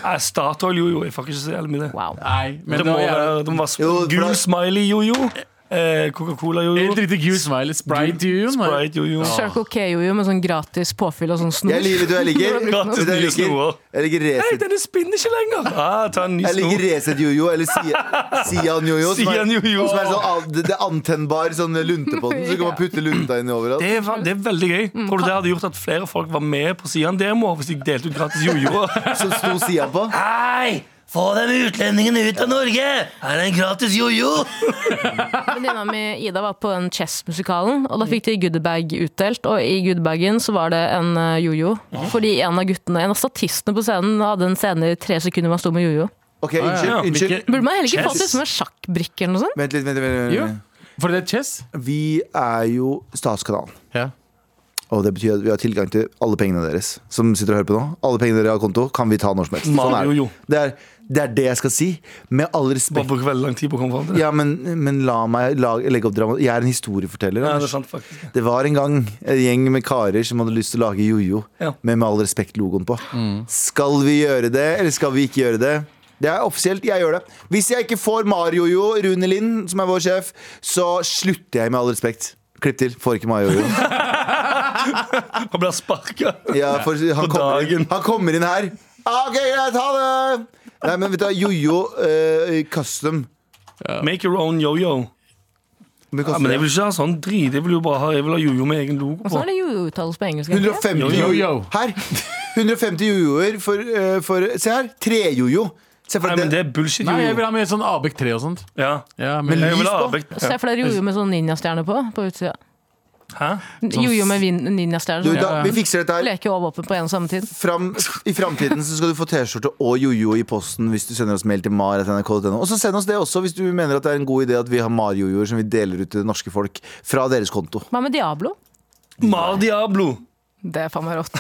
[SPEAKER 5] Nei, Statoil-jojo. Jeg får ikke så jævlig mye det.
[SPEAKER 4] Wow.
[SPEAKER 3] Nei, men
[SPEAKER 5] det,
[SPEAKER 3] det
[SPEAKER 5] må
[SPEAKER 3] var
[SPEAKER 5] være,
[SPEAKER 3] jævlig-
[SPEAKER 5] det må være sm-
[SPEAKER 2] Jo, for-
[SPEAKER 5] gul smiley-jojo. Eh, Coca-Cola-jojo.
[SPEAKER 3] Helt riktig gul smile. Sprite-jojoen.
[SPEAKER 5] Sprite-jojo.
[SPEAKER 4] Circle K-jojo med sånn gratis påfyll og sånn
[SPEAKER 2] Jeg
[SPEAKER 4] snor.
[SPEAKER 2] liker du, jeg liker.
[SPEAKER 5] Gratis
[SPEAKER 2] Vet du hva Jeg
[SPEAKER 5] nye
[SPEAKER 2] liker,
[SPEAKER 5] snorer.
[SPEAKER 2] jeg liker
[SPEAKER 5] Hei,
[SPEAKER 2] Resett-
[SPEAKER 5] denne spinner ikke lenger! Ah, ta en ny
[SPEAKER 2] jeg liker
[SPEAKER 5] snor.
[SPEAKER 2] Resett jojo, eller Sia- Sian jojo. Som er,
[SPEAKER 5] Sian jojo.
[SPEAKER 2] som er sånn, an- det det er antennbar sånn lunte på den, så kan man putte lunta inn overalt.
[SPEAKER 5] Det er, va- det er veldig gøy. Tror du det hadde gjort at flere folk var med på Sian Demo hvis de delte ut gratis jojo?
[SPEAKER 2] Som sto Sian på.
[SPEAKER 5] Hei! Få de utlendingene ut av Norge! Her er en gratis jojo!
[SPEAKER 4] Venninna mi Ida var på den Chess-musikalen, og da fikk de goodiebag utdelt. Og i goodiebagen så var det en eh, jojo. Fordi en av guttene, en av statistene på scenen hadde en scene i tre sekunder man sto med jojo.
[SPEAKER 2] Ok,
[SPEAKER 5] Ah,
[SPEAKER 2] unnskyld. unnskyld.
[SPEAKER 4] Burde man heller ikke
[SPEAKER 5] Chess.
[SPEAKER 4] fått det som en sjakkbrikke eller noe sånt?
[SPEAKER 2] Vent litt. vent litt, vent litt,
[SPEAKER 3] Jo,
[SPEAKER 2] vent litt.
[SPEAKER 3] for det er chess.
[SPEAKER 2] Vi er jo Statskanalen.
[SPEAKER 3] Ja.
[SPEAKER 2] Og det betyr at vi har tilgang til alle pengene deres. Som sitter og hører på nå Alle pengene dere har konto, kan vi ta når som helst. Sånn er det.
[SPEAKER 5] Mario, jo.
[SPEAKER 2] Det, er, det er det jeg skal si. Med all
[SPEAKER 5] Bare
[SPEAKER 2] respekt.
[SPEAKER 5] bruker veldig lang tid på å komme fram til det.
[SPEAKER 2] Ja, men, men la meg lag, legge opp drama. Jeg er en historieforteller.
[SPEAKER 5] Ja,
[SPEAKER 2] Anders.
[SPEAKER 5] det er sant, faktisk.
[SPEAKER 2] Det var en gang en gjeng med karer som hadde lyst til å lage jojo
[SPEAKER 5] Ja. Mm.
[SPEAKER 2] med Med all respekt-logoen på. Skal vi gjøre det, eller skal vi ikke gjøre det? Det er offisielt, jeg gjør det. Hvis jeg ikke får Mario-jo, Rune Lind, som er vår sjef, så slutter jeg med all respekt. Klipp til. Får ikke Mario-jo.
[SPEAKER 5] Han blir sparka.
[SPEAKER 2] Ja, for han,
[SPEAKER 5] På
[SPEAKER 2] kommer inn,
[SPEAKER 5] dagen.
[SPEAKER 2] han kommer inn her. Ah, Ok, greit, ha det! Nei, men vet du hva, jojo eh, custom.
[SPEAKER 5] Make your own yo-yo.
[SPEAKER 2] Men
[SPEAKER 5] Ja,
[SPEAKER 2] custom.
[SPEAKER 5] men jeg vil ikke ha sånn drit. Jeg vil jo bare ha, jeg vil ha jojo med egen logo på.
[SPEAKER 4] Hvordan er det jojo-uttales på engelsk? egentlig?
[SPEAKER 2] 150
[SPEAKER 3] Jo, jo.
[SPEAKER 2] jojo. Her. 150 jojoer for, eh, for Se her. Trejojo. Se for
[SPEAKER 5] Nei,
[SPEAKER 2] deg
[SPEAKER 5] men
[SPEAKER 2] det.
[SPEAKER 5] det er bullshit
[SPEAKER 3] Nei, jeg
[SPEAKER 5] jojo.
[SPEAKER 3] vil ha med sånn Abek 3 og sånt.
[SPEAKER 5] Ja.
[SPEAKER 3] Ja,
[SPEAKER 5] Jeg vil ha
[SPEAKER 2] lys på.
[SPEAKER 5] avvekt.
[SPEAKER 4] Se for deg jojo med sånn ninjastjerne på, på utsida.
[SPEAKER 5] Hæ?
[SPEAKER 4] Jojo med vin- ninjastjerner.
[SPEAKER 2] Du,
[SPEAKER 4] som
[SPEAKER 2] da, vi fikser dette her.
[SPEAKER 4] Leker overvåpen på en og samme tid.
[SPEAKER 2] Fram, I framtiden så skal du få T-skjorte og jojo i posten hvis du sender oss mail til mar.nrk.no. Og så send oss det også hvis du mener at det er en god idé at vi har mar-jojoer som vi deler ut til det norske folk fra deres konto.
[SPEAKER 4] Hva med Diablo?
[SPEAKER 5] Mar Diablo.
[SPEAKER 4] Det er faen meg rått.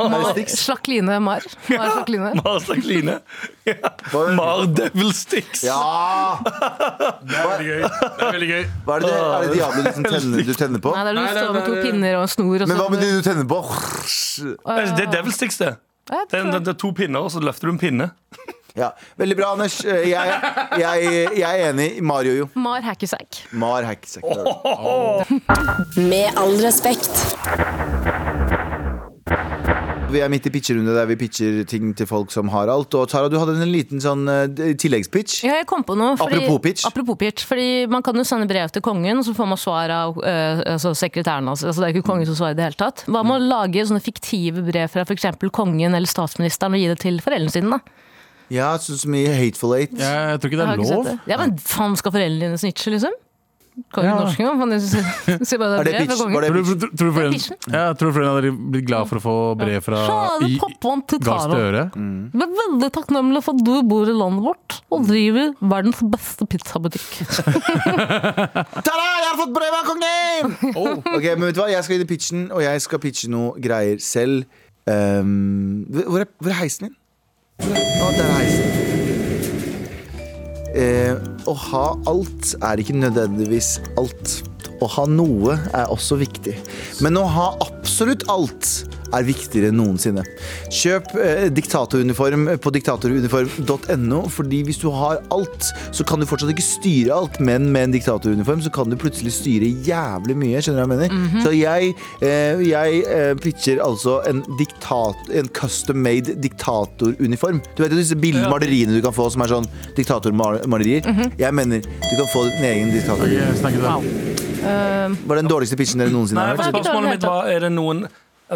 [SPEAKER 4] Mar, slakk line, Mar. Mar slakk line.
[SPEAKER 5] Mar Sakline. Ja. Mar Devil Sticks.
[SPEAKER 2] Ja!
[SPEAKER 3] Det er veldig gøy.
[SPEAKER 2] Hva er det, det- er det diabelen som tenner, du tenner på?
[SPEAKER 4] Nei, det er
[SPEAKER 3] Nei,
[SPEAKER 4] du
[SPEAKER 3] nei,
[SPEAKER 4] står med
[SPEAKER 3] nei,
[SPEAKER 4] to
[SPEAKER 3] nei.
[SPEAKER 4] pinner og en snor. Og sånn.
[SPEAKER 2] Men hva
[SPEAKER 4] så-
[SPEAKER 2] med de du tenner på?
[SPEAKER 5] Det er Devil Sticks, det.
[SPEAKER 4] Ja, jeg
[SPEAKER 5] Det er,
[SPEAKER 4] tror-
[SPEAKER 5] det er to pinner, og så løfter du en pinne.
[SPEAKER 2] Ja, Veldig bra, Anders. Eh, Jeg, jeg, jeg er enig. Mar-jojo.
[SPEAKER 4] Mar hackysack.
[SPEAKER 2] Mar hacksack.
[SPEAKER 7] Med all respekt.
[SPEAKER 2] Vi er midt i pitcherunde der vi pitcher ting til folk som har alt. Og Tara, du hadde en liten sånn eh, tilleggspitch.
[SPEAKER 4] Ja, jeg kom på noe. fordi-
[SPEAKER 2] Apropos pitch.
[SPEAKER 4] Apropos pitch, fordi Man kan jo sende brev til kongen, og så får man svar av eh, altså sekretæren. Altså. Altså, det er ikke kongen som svarer i det hele tatt. Hva
[SPEAKER 2] Mm.
[SPEAKER 4] med å lage sånne fiktive brev fra f.eks. kongen eller statsministeren og gi det til foreldrene sine? da?
[SPEAKER 2] Ja, sånn som i Hateful Eight.
[SPEAKER 3] Jeg, jeg tror ikke
[SPEAKER 4] Jeg
[SPEAKER 3] det
[SPEAKER 4] har
[SPEAKER 3] er
[SPEAKER 4] ikke
[SPEAKER 3] lov.
[SPEAKER 4] sett det. Ja, men faen, skal foreldrene dine snitche, liksom? Kan jo
[SPEAKER 3] Ja.
[SPEAKER 4] ikke norsk engang. faen, jeg synes- sier bare
[SPEAKER 2] Er
[SPEAKER 4] det
[SPEAKER 2] det
[SPEAKER 4] er brev
[SPEAKER 2] pitch?
[SPEAKER 4] fra
[SPEAKER 2] Var
[SPEAKER 4] kongen.
[SPEAKER 2] det
[SPEAKER 3] Tror du,
[SPEAKER 2] pitch?
[SPEAKER 3] tror du foreldrene ja, tror du foreldrene hadde blitt glad for å få brev fra
[SPEAKER 4] Faen,
[SPEAKER 3] i-
[SPEAKER 4] pappaen til
[SPEAKER 3] Gahr
[SPEAKER 4] Tara.
[SPEAKER 3] Støre?
[SPEAKER 2] Mm.
[SPEAKER 4] Jeg er veldig takknemlig for at du bor i landet vårt og driver verdens beste pizzabutikk.
[SPEAKER 2] Tara, jeg har fått brev av kongen! Oh. Ok, men vet du hva? Jeg skal inn i pitchen, og jeg skal pitche noe greier selv. Ehm, hvor, er, hvor er heisen din? Hvor er- Å, der er heisen. Eh, å ha alt er ikke nødvendigvis alt. Å ha noe er også viktig. Men å ha absolutt alt er viktigere enn noensinne. Kjøp eh, diktatoruniform på diktatoruniform.no, fordi hvis du har alt, så kan du fortsatt ikke styre alt, men med en diktatoruniform så kan du plutselig styre jævlig mye. Skjønner du hva jeg mener? Så jeg, eh, jeg eh, pitcher altså en, diktat, en custom made diktatoruniform. Du vet jo disse bildene, maleriene du kan få som er sånn diktatormalerier? Jeg mener du kan få din egen diktator.
[SPEAKER 3] Jeg snakket om-
[SPEAKER 2] Var det den dårligste pitchen dere noensinne
[SPEAKER 5] Nei,
[SPEAKER 2] har hørt?
[SPEAKER 4] ikke dårlig,
[SPEAKER 5] spørsmålet mitt var er det noen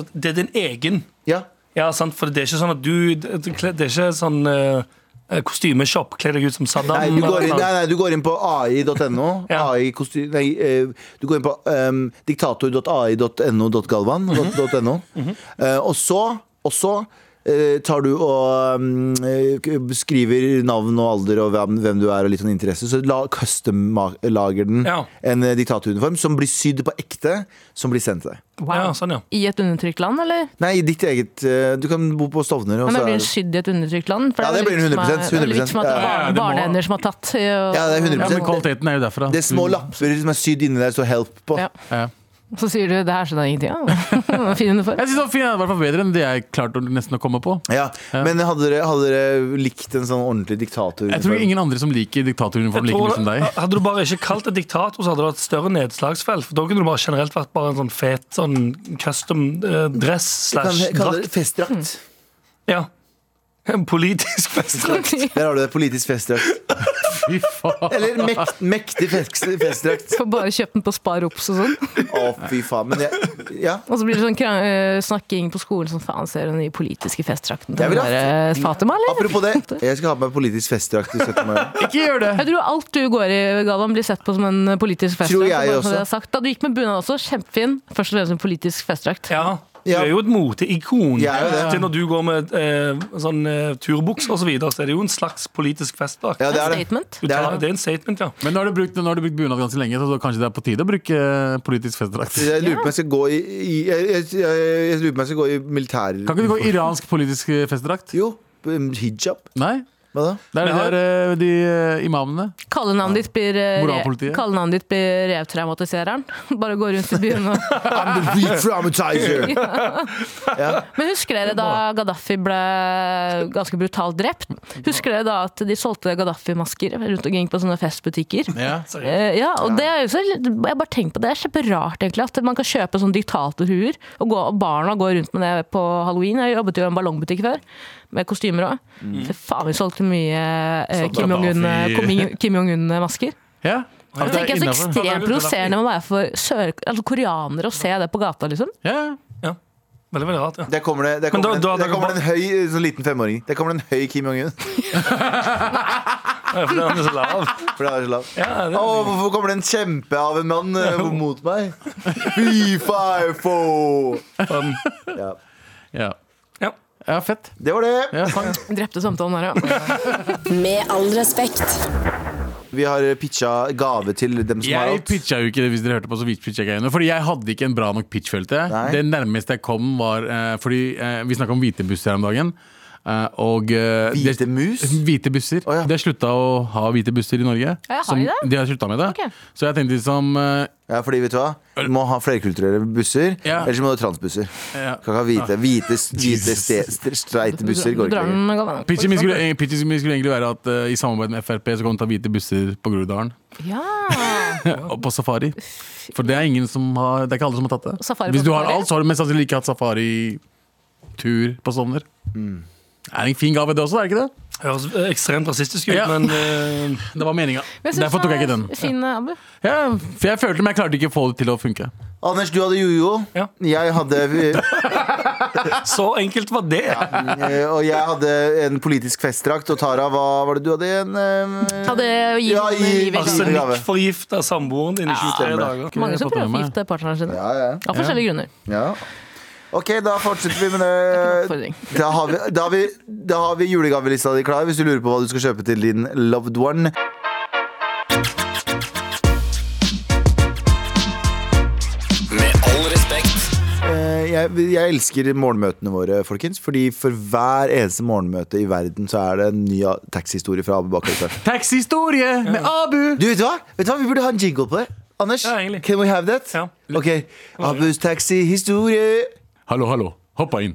[SPEAKER 5] at Det er din egen.
[SPEAKER 2] Ja.
[SPEAKER 5] Ja, sant, for det er ikke sånn at du Det det er ikke sånn eh, kostymeshop. Kle deg ut som Saddam.
[SPEAKER 2] Nei, du går inn,
[SPEAKER 5] eller noe.
[SPEAKER 2] nei, nei, du går inn på ai.no.
[SPEAKER 5] Ja.
[SPEAKER 2] AI kosty- nei, eh, du går inn på um, diktator.ai.no.galvan.
[SPEAKER 5] Mhm.
[SPEAKER 2] dot- .no. Eh, og så, og så eh, tar du og um, eh, k- skriver navn og alder og hvem, hvem du er og litt sånn interesse. Så la, custom-lager den
[SPEAKER 5] Ja.
[SPEAKER 2] en eh, diktatoruniform som blir sydd på ekte, som blir sendt til deg.
[SPEAKER 5] Ja, sånn, ja.
[SPEAKER 4] I et undertrykt land, eller?
[SPEAKER 2] Nei, i ditt eget eh, Du kan bo på Stovner. Og så
[SPEAKER 4] Men jeg
[SPEAKER 2] Altså, er
[SPEAKER 4] blir
[SPEAKER 2] det-
[SPEAKER 4] sydd i et undertrykt land. For
[SPEAKER 2] Ja, det
[SPEAKER 4] er vel
[SPEAKER 2] blir
[SPEAKER 4] litt som er-
[SPEAKER 2] 100%,
[SPEAKER 4] Det er vel litt som at det er
[SPEAKER 2] Ja,
[SPEAKER 3] ja,
[SPEAKER 4] barne-
[SPEAKER 3] det må-
[SPEAKER 4] barnehender som har tatt. eh, og-
[SPEAKER 2] Ja, det er 100%.
[SPEAKER 3] Ja, men kvaliteten er jo derfra.
[SPEAKER 2] det er små
[SPEAKER 5] Mm.
[SPEAKER 2] lapper som er sydd inni der, står 'help' på.
[SPEAKER 4] Ja.
[SPEAKER 3] Ja.
[SPEAKER 4] Så sier du 'det her skjønner jeg ingenting av'. Fin uniform.
[SPEAKER 3] Jeg synes det var fint, det er i hvert fall bedre enn det jeg klarte å nesten å komme på.
[SPEAKER 2] Ja, Men hadde dere, hadde dere likt en sånn ordentlig diktator?
[SPEAKER 3] Jeg tror ingen andre som liker
[SPEAKER 5] Jeg
[SPEAKER 3] diktatoruniform like mye som
[SPEAKER 5] tror,
[SPEAKER 3] deg.
[SPEAKER 5] hadde du bare ikke kalt det diktator, så hadde det vært større nedslagsfelt. For Da kunne du bare generelt vært bare en sånn fet sånn custom eh, dress
[SPEAKER 2] kan,
[SPEAKER 5] slash
[SPEAKER 2] kan dere
[SPEAKER 5] drakt.
[SPEAKER 2] festdrakt?
[SPEAKER 5] Ja. En politisk festdrakt.
[SPEAKER 2] Der har du det. Politisk festdrakt.
[SPEAKER 3] Fy faen.
[SPEAKER 2] Eller mekt, mektig fest, festdrakt.
[SPEAKER 4] Får bare kjøpt den på Spar Ops og sånn.
[SPEAKER 2] Å, fy faen. Men jeg Ja.
[SPEAKER 4] Og så blir det sånn krang- eh, snakking på skolen som faen ser du den nye politiske festdrakten til
[SPEAKER 2] Jeg
[SPEAKER 4] hun
[SPEAKER 2] vil ha-
[SPEAKER 4] der, eh, Fatima, eller?
[SPEAKER 2] Apropos det, jeg skal ha på meg politisk festdrakt i 17. mai.
[SPEAKER 3] Ikke gjør det!
[SPEAKER 4] Jeg tror alt du går i, Galvan, blir sett på som en eh, politisk festdrakt.
[SPEAKER 2] Tror jeg
[SPEAKER 4] bare for
[SPEAKER 2] også.
[SPEAKER 4] det jeg har sagt. Da du gikk med bunad også, kjempefin. Først og fremst en politisk festdrakt.
[SPEAKER 5] Ja. Du
[SPEAKER 2] Ja.
[SPEAKER 5] er jo et moteikon.
[SPEAKER 2] Jeg er jo det.
[SPEAKER 5] Til Når du går med eh, sånn eh, turbukser og så videre, så er det jo en slags politisk festdrakt.
[SPEAKER 2] Ja, det er det.
[SPEAKER 4] Statement.
[SPEAKER 5] Du
[SPEAKER 2] det er
[SPEAKER 5] tar-
[SPEAKER 2] det.
[SPEAKER 5] Det er en statement, ja.
[SPEAKER 3] Men nå har du brukt, nå har du brukt bunad ganske lenge, så da kanskje det er på tide å bruke eh, politisk festdrakt.
[SPEAKER 2] Jeg lurer på om jeg skal gå i, i jeg, jeg, jeg, jeg lurer på om jeg skal gå i militær...
[SPEAKER 3] Kan ikke du gå i iransk politisk eh, festdrakt?
[SPEAKER 2] Jo. um, Hijab.
[SPEAKER 3] Nei?
[SPEAKER 2] Hva da?
[SPEAKER 3] Det er de,
[SPEAKER 5] Men
[SPEAKER 3] der, eh, de eh, imamene.
[SPEAKER 4] Kallenavnet ditt blir eh, re-
[SPEAKER 3] Moralpolitiet.
[SPEAKER 4] kallenavnet ditt blir Revtraumatisereren. Bare gå rundt i byen og
[SPEAKER 2] I'm the re-traumatizer!
[SPEAKER 4] Men husker dere da Gaddafi ble ganske brutalt drept? Husker dere da at de solgte Gaddafi-masker rundt omkring på sånne festbutikker? Eh, ja, og det er jo så, jeg bare tenker på det. Det er kjemperart egentlig at man kan kjøpe sånne diktatorhuer, og, gå, og barna går rundt med det på halloween. Jeg jobbet jo i en ballongbutikk før, med kostymer òg. Fy Faen, vi solgte mye eh,
[SPEAKER 3] Mm. Solgte
[SPEAKER 4] Kim Jong-un-
[SPEAKER 3] Gaddafi.
[SPEAKER 4] Kim- Kim Jong-un-masker.
[SPEAKER 3] Ja?
[SPEAKER 4] Det
[SPEAKER 3] At det
[SPEAKER 4] tenker
[SPEAKER 3] er
[SPEAKER 4] jeg er så
[SPEAKER 3] innenfor.
[SPEAKER 5] Hva er
[SPEAKER 4] ekstremt
[SPEAKER 5] det
[SPEAKER 4] provoserende å være for sør, altså koreanere og se det på gata, liksom.
[SPEAKER 3] Ja.
[SPEAKER 5] ja. Veldig, veldig rart, ja.
[SPEAKER 2] Der kommer det, der
[SPEAKER 5] Men da-
[SPEAKER 2] kommer det,
[SPEAKER 5] da-
[SPEAKER 2] en- der
[SPEAKER 5] da-
[SPEAKER 2] kommer det en høy sånn liten femåring. Der kommer det en høy Kim Jong-un.
[SPEAKER 5] Fordi han er så lav.
[SPEAKER 2] For det er så lavt.
[SPEAKER 5] Ja, det-
[SPEAKER 2] Å, hvorfor kommer det en kjempe av en mann eh, mot meg? Fy faen, få!
[SPEAKER 5] Um,
[SPEAKER 2] Ja.
[SPEAKER 3] Ja.
[SPEAKER 5] ja.
[SPEAKER 3] ja, fett.
[SPEAKER 2] Det var det.
[SPEAKER 3] Ja, takk.
[SPEAKER 4] Drepte samtalen her, ja.
[SPEAKER 7] Med all respekt.
[SPEAKER 2] Vi har pitcha gave til dem som har
[SPEAKER 3] Jeg
[SPEAKER 2] alt.
[SPEAKER 3] pitcha jo ikke det hvis dere hørte på, så vidt pitcha ikke jeg noe. Fordi jeg hadde ikke en bra nok pitch, følte jeg.
[SPEAKER 2] Nei.
[SPEAKER 3] Det nærmeste jeg kom, var eh, Fordi eh, vi snakka om hvite busser her om dagen. eh, og eh, det-
[SPEAKER 2] Hvite mus?
[SPEAKER 3] Hvite busser.
[SPEAKER 2] Å, ja.
[SPEAKER 3] De har slutta å ha hvite busser i Norge.
[SPEAKER 4] Ja, har
[SPEAKER 3] som,
[SPEAKER 4] de det?
[SPEAKER 3] de har sluttet med det.
[SPEAKER 4] Ok.
[SPEAKER 3] Så jeg tenkte liksom eh,
[SPEAKER 2] Ja, fordi vet du hva? Du må ha flerkulturelle busser,
[SPEAKER 3] Ja.
[SPEAKER 2] ellers må du ha transbusser.
[SPEAKER 3] ja.
[SPEAKER 2] Kan ikke ha hvite, hvite, hvite
[SPEAKER 3] Jesus.
[SPEAKER 2] ste- st- streite busser.
[SPEAKER 4] Du
[SPEAKER 2] Går ikke
[SPEAKER 4] drar
[SPEAKER 2] lenger.
[SPEAKER 4] den gammel.
[SPEAKER 3] Pitchen min skulle, eh, pitchen min skulle egentlig være at eh, i samarbeid med Frp så kommer de til å ha hvite busser på Groruddalen.
[SPEAKER 4] Ja.
[SPEAKER 3] Og på safari. For det er ingen som har Det er ikke alle som har tatt det.
[SPEAKER 4] Safari på
[SPEAKER 3] Hvis du har
[SPEAKER 4] safari?
[SPEAKER 3] alt, så har du mest sannsynlig ikke hatt safaritur på Stovner. Mm. Det er en fin gave, det også, er det ikke det?
[SPEAKER 5] Høres eh, ekstremt rasistisk ut,
[SPEAKER 3] Ja.
[SPEAKER 5] men eh,
[SPEAKER 3] Det var meninga.
[SPEAKER 4] Men jeg synes
[SPEAKER 3] Derfor tok jeg ikke den.
[SPEAKER 4] er Fin, eh, Abu.
[SPEAKER 3] Ja, for jeg følte men jeg klarte ikke å få det til å funke.
[SPEAKER 2] Anders, du hadde jojo.
[SPEAKER 5] Ja.
[SPEAKER 2] Jeg hadde
[SPEAKER 5] så enkelt var det.
[SPEAKER 2] eh, Og jeg hadde en politisk festdrakt, og Tara, hva var det du hadde igjen? Eh,
[SPEAKER 4] Hadde gi
[SPEAKER 2] Ja,
[SPEAKER 4] ja,
[SPEAKER 2] gi-
[SPEAKER 4] livet
[SPEAKER 2] altså-
[SPEAKER 4] litt.
[SPEAKER 5] Arsenikkforgifta samboeren din i 23 dager.
[SPEAKER 4] Mange som
[SPEAKER 3] Jeg fått
[SPEAKER 4] prøver
[SPEAKER 3] med
[SPEAKER 4] å
[SPEAKER 3] meg.
[SPEAKER 4] forgifte partnerne sine.
[SPEAKER 2] Ja, ja,
[SPEAKER 4] Av forskjellige grunner.
[SPEAKER 2] ja. OK, da fortsetter vi med det.
[SPEAKER 4] Oppfordring.
[SPEAKER 2] Da har vi, da har vi, da har vi julegavelista di klar, hvis du lurer på hva du skal kjøpe til din loved one.
[SPEAKER 8] Med all respekt.
[SPEAKER 2] Eh, jeg, jeg elsker morgenmøtene våre, folkens. Fordi for hver eneste morgenmøte i verden så er det en ny a- taxihistorie fra Abu Bakar. Hussein.
[SPEAKER 3] Taxihistorie med Abu!
[SPEAKER 2] Du, vet du hva? Vet du hva? Vi burde ha en jingle på det. Anders,
[SPEAKER 5] Ja, egentlig.
[SPEAKER 2] can we have that?
[SPEAKER 5] Ja.
[SPEAKER 2] Ok, Abus taxihistorie.
[SPEAKER 3] Hallo, hallo. Hoppa inn.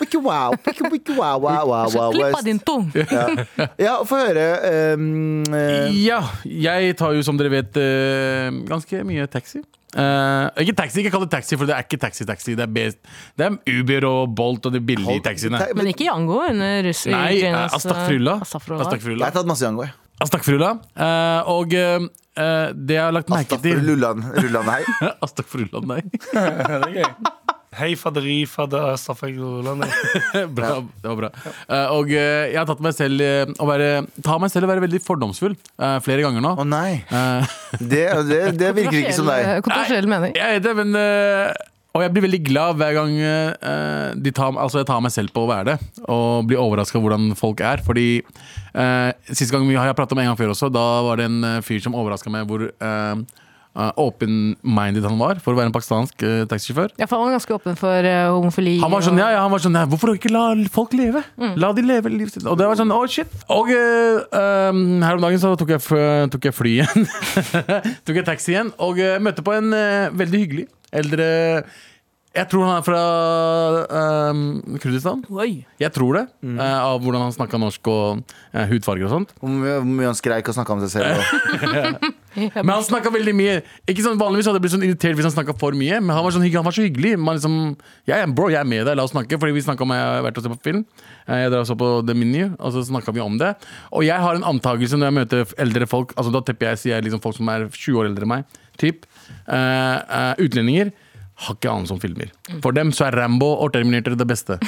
[SPEAKER 2] Wiki wow, wiki wiki wow, wow, wow, wow,
[SPEAKER 4] Klipp
[SPEAKER 2] wow.
[SPEAKER 4] av din tung.
[SPEAKER 2] Ja, få høre. ehm, eh,
[SPEAKER 3] Ja, jeg tar jo som dere vet eh, ganske mye taxi. Eh, ikke taxi, ikke kall det taxi, for det er ikke taxi-taxi. Det, er best- det er Uber og Bolt og de billige taxiene.
[SPEAKER 2] ta-
[SPEAKER 4] Men ikke Jango under russer.
[SPEAKER 3] Nei, eh,
[SPEAKER 4] Grenas, eh,
[SPEAKER 3] Astagfrulla.
[SPEAKER 4] Astagfrulla.
[SPEAKER 2] Jeg har
[SPEAKER 3] Astagfrulla.
[SPEAKER 2] tatt masse Jango, jeg.
[SPEAKER 3] Astagfrulla. Eh, og eh, eh, det jeg har lagt merke
[SPEAKER 2] Astafur
[SPEAKER 3] til
[SPEAKER 2] Lullan, Lullan, hei.
[SPEAKER 3] Astagfrulla, nei.
[SPEAKER 5] Ja, det er gøy. Hei, faderi, fader, eh, astafagrulan.
[SPEAKER 3] bra, det var bra. Eh, og eh, jeg har tatt meg selv eh, å være Ta meg selv å være veldig fordomsfull eh, flere ganger nå.
[SPEAKER 2] Å nei.
[SPEAKER 3] Eh,
[SPEAKER 2] Det, det, det virker ikke som deg.
[SPEAKER 4] Kontroversiell- eh, Kontroversiell mening.
[SPEAKER 3] jeg vet det, men eh, Og jeg blir veldig glad hver gang eh, de tar, altså jeg tar meg selv på å være det. Og blir overraska hvordan folk er. Fordi eh, sist gang vi har jeg pratet om en gang før også, da var det en eh, fyr som overraska meg hvor eh, eh, open-minded han var for å være en pakistansk eh, taxisjåfør.
[SPEAKER 4] Ja, for han var ganske åpen for eh, homofili.
[SPEAKER 3] Han var sånn,
[SPEAKER 4] og-
[SPEAKER 3] ja, ja, han var sånn, ja, hvorfor ikke la folk leve? La de leve livet sitt. Og det var sånn, oh shit. Og eh, um, her om dagen så tok jeg, f- tok jeg fly igjen. tok jeg taxi igjen, og eh, møtte på en eh, veldig hyggelig eldre... Jeg tror han er fra eh, Kurdistan.
[SPEAKER 4] Oi.
[SPEAKER 3] Jeg tror det, eh, av hvordan han snakket norsk og eh, hudfarger og sånt.
[SPEAKER 2] Hvor mye hvor mye han skreik og snakka om seg selv. og-
[SPEAKER 3] Men han snakka veldig mye. Ikke sånn, Vanligvis hadde jeg blitt sånn irritert hvis han snakka for mye, men han var, sånn, hygg- han var så hyggelig. Man liksom, jeg er bro, jeg er med deg, la oss snakke. Fordi vi snakket om jeg har vært og sett på film. Eh, Jeg drar og så på The Menu, og så snakka vi om det. Og jeg har en antakelse når jeg møter f- eldre folk, altså da tepper jeg sier jeg liksom folk som er 20 år eldre enn meg, typ, eh, eh, utlendinger, har ikke anelse om filmer. For dem så er Rambo og Terminator det beste.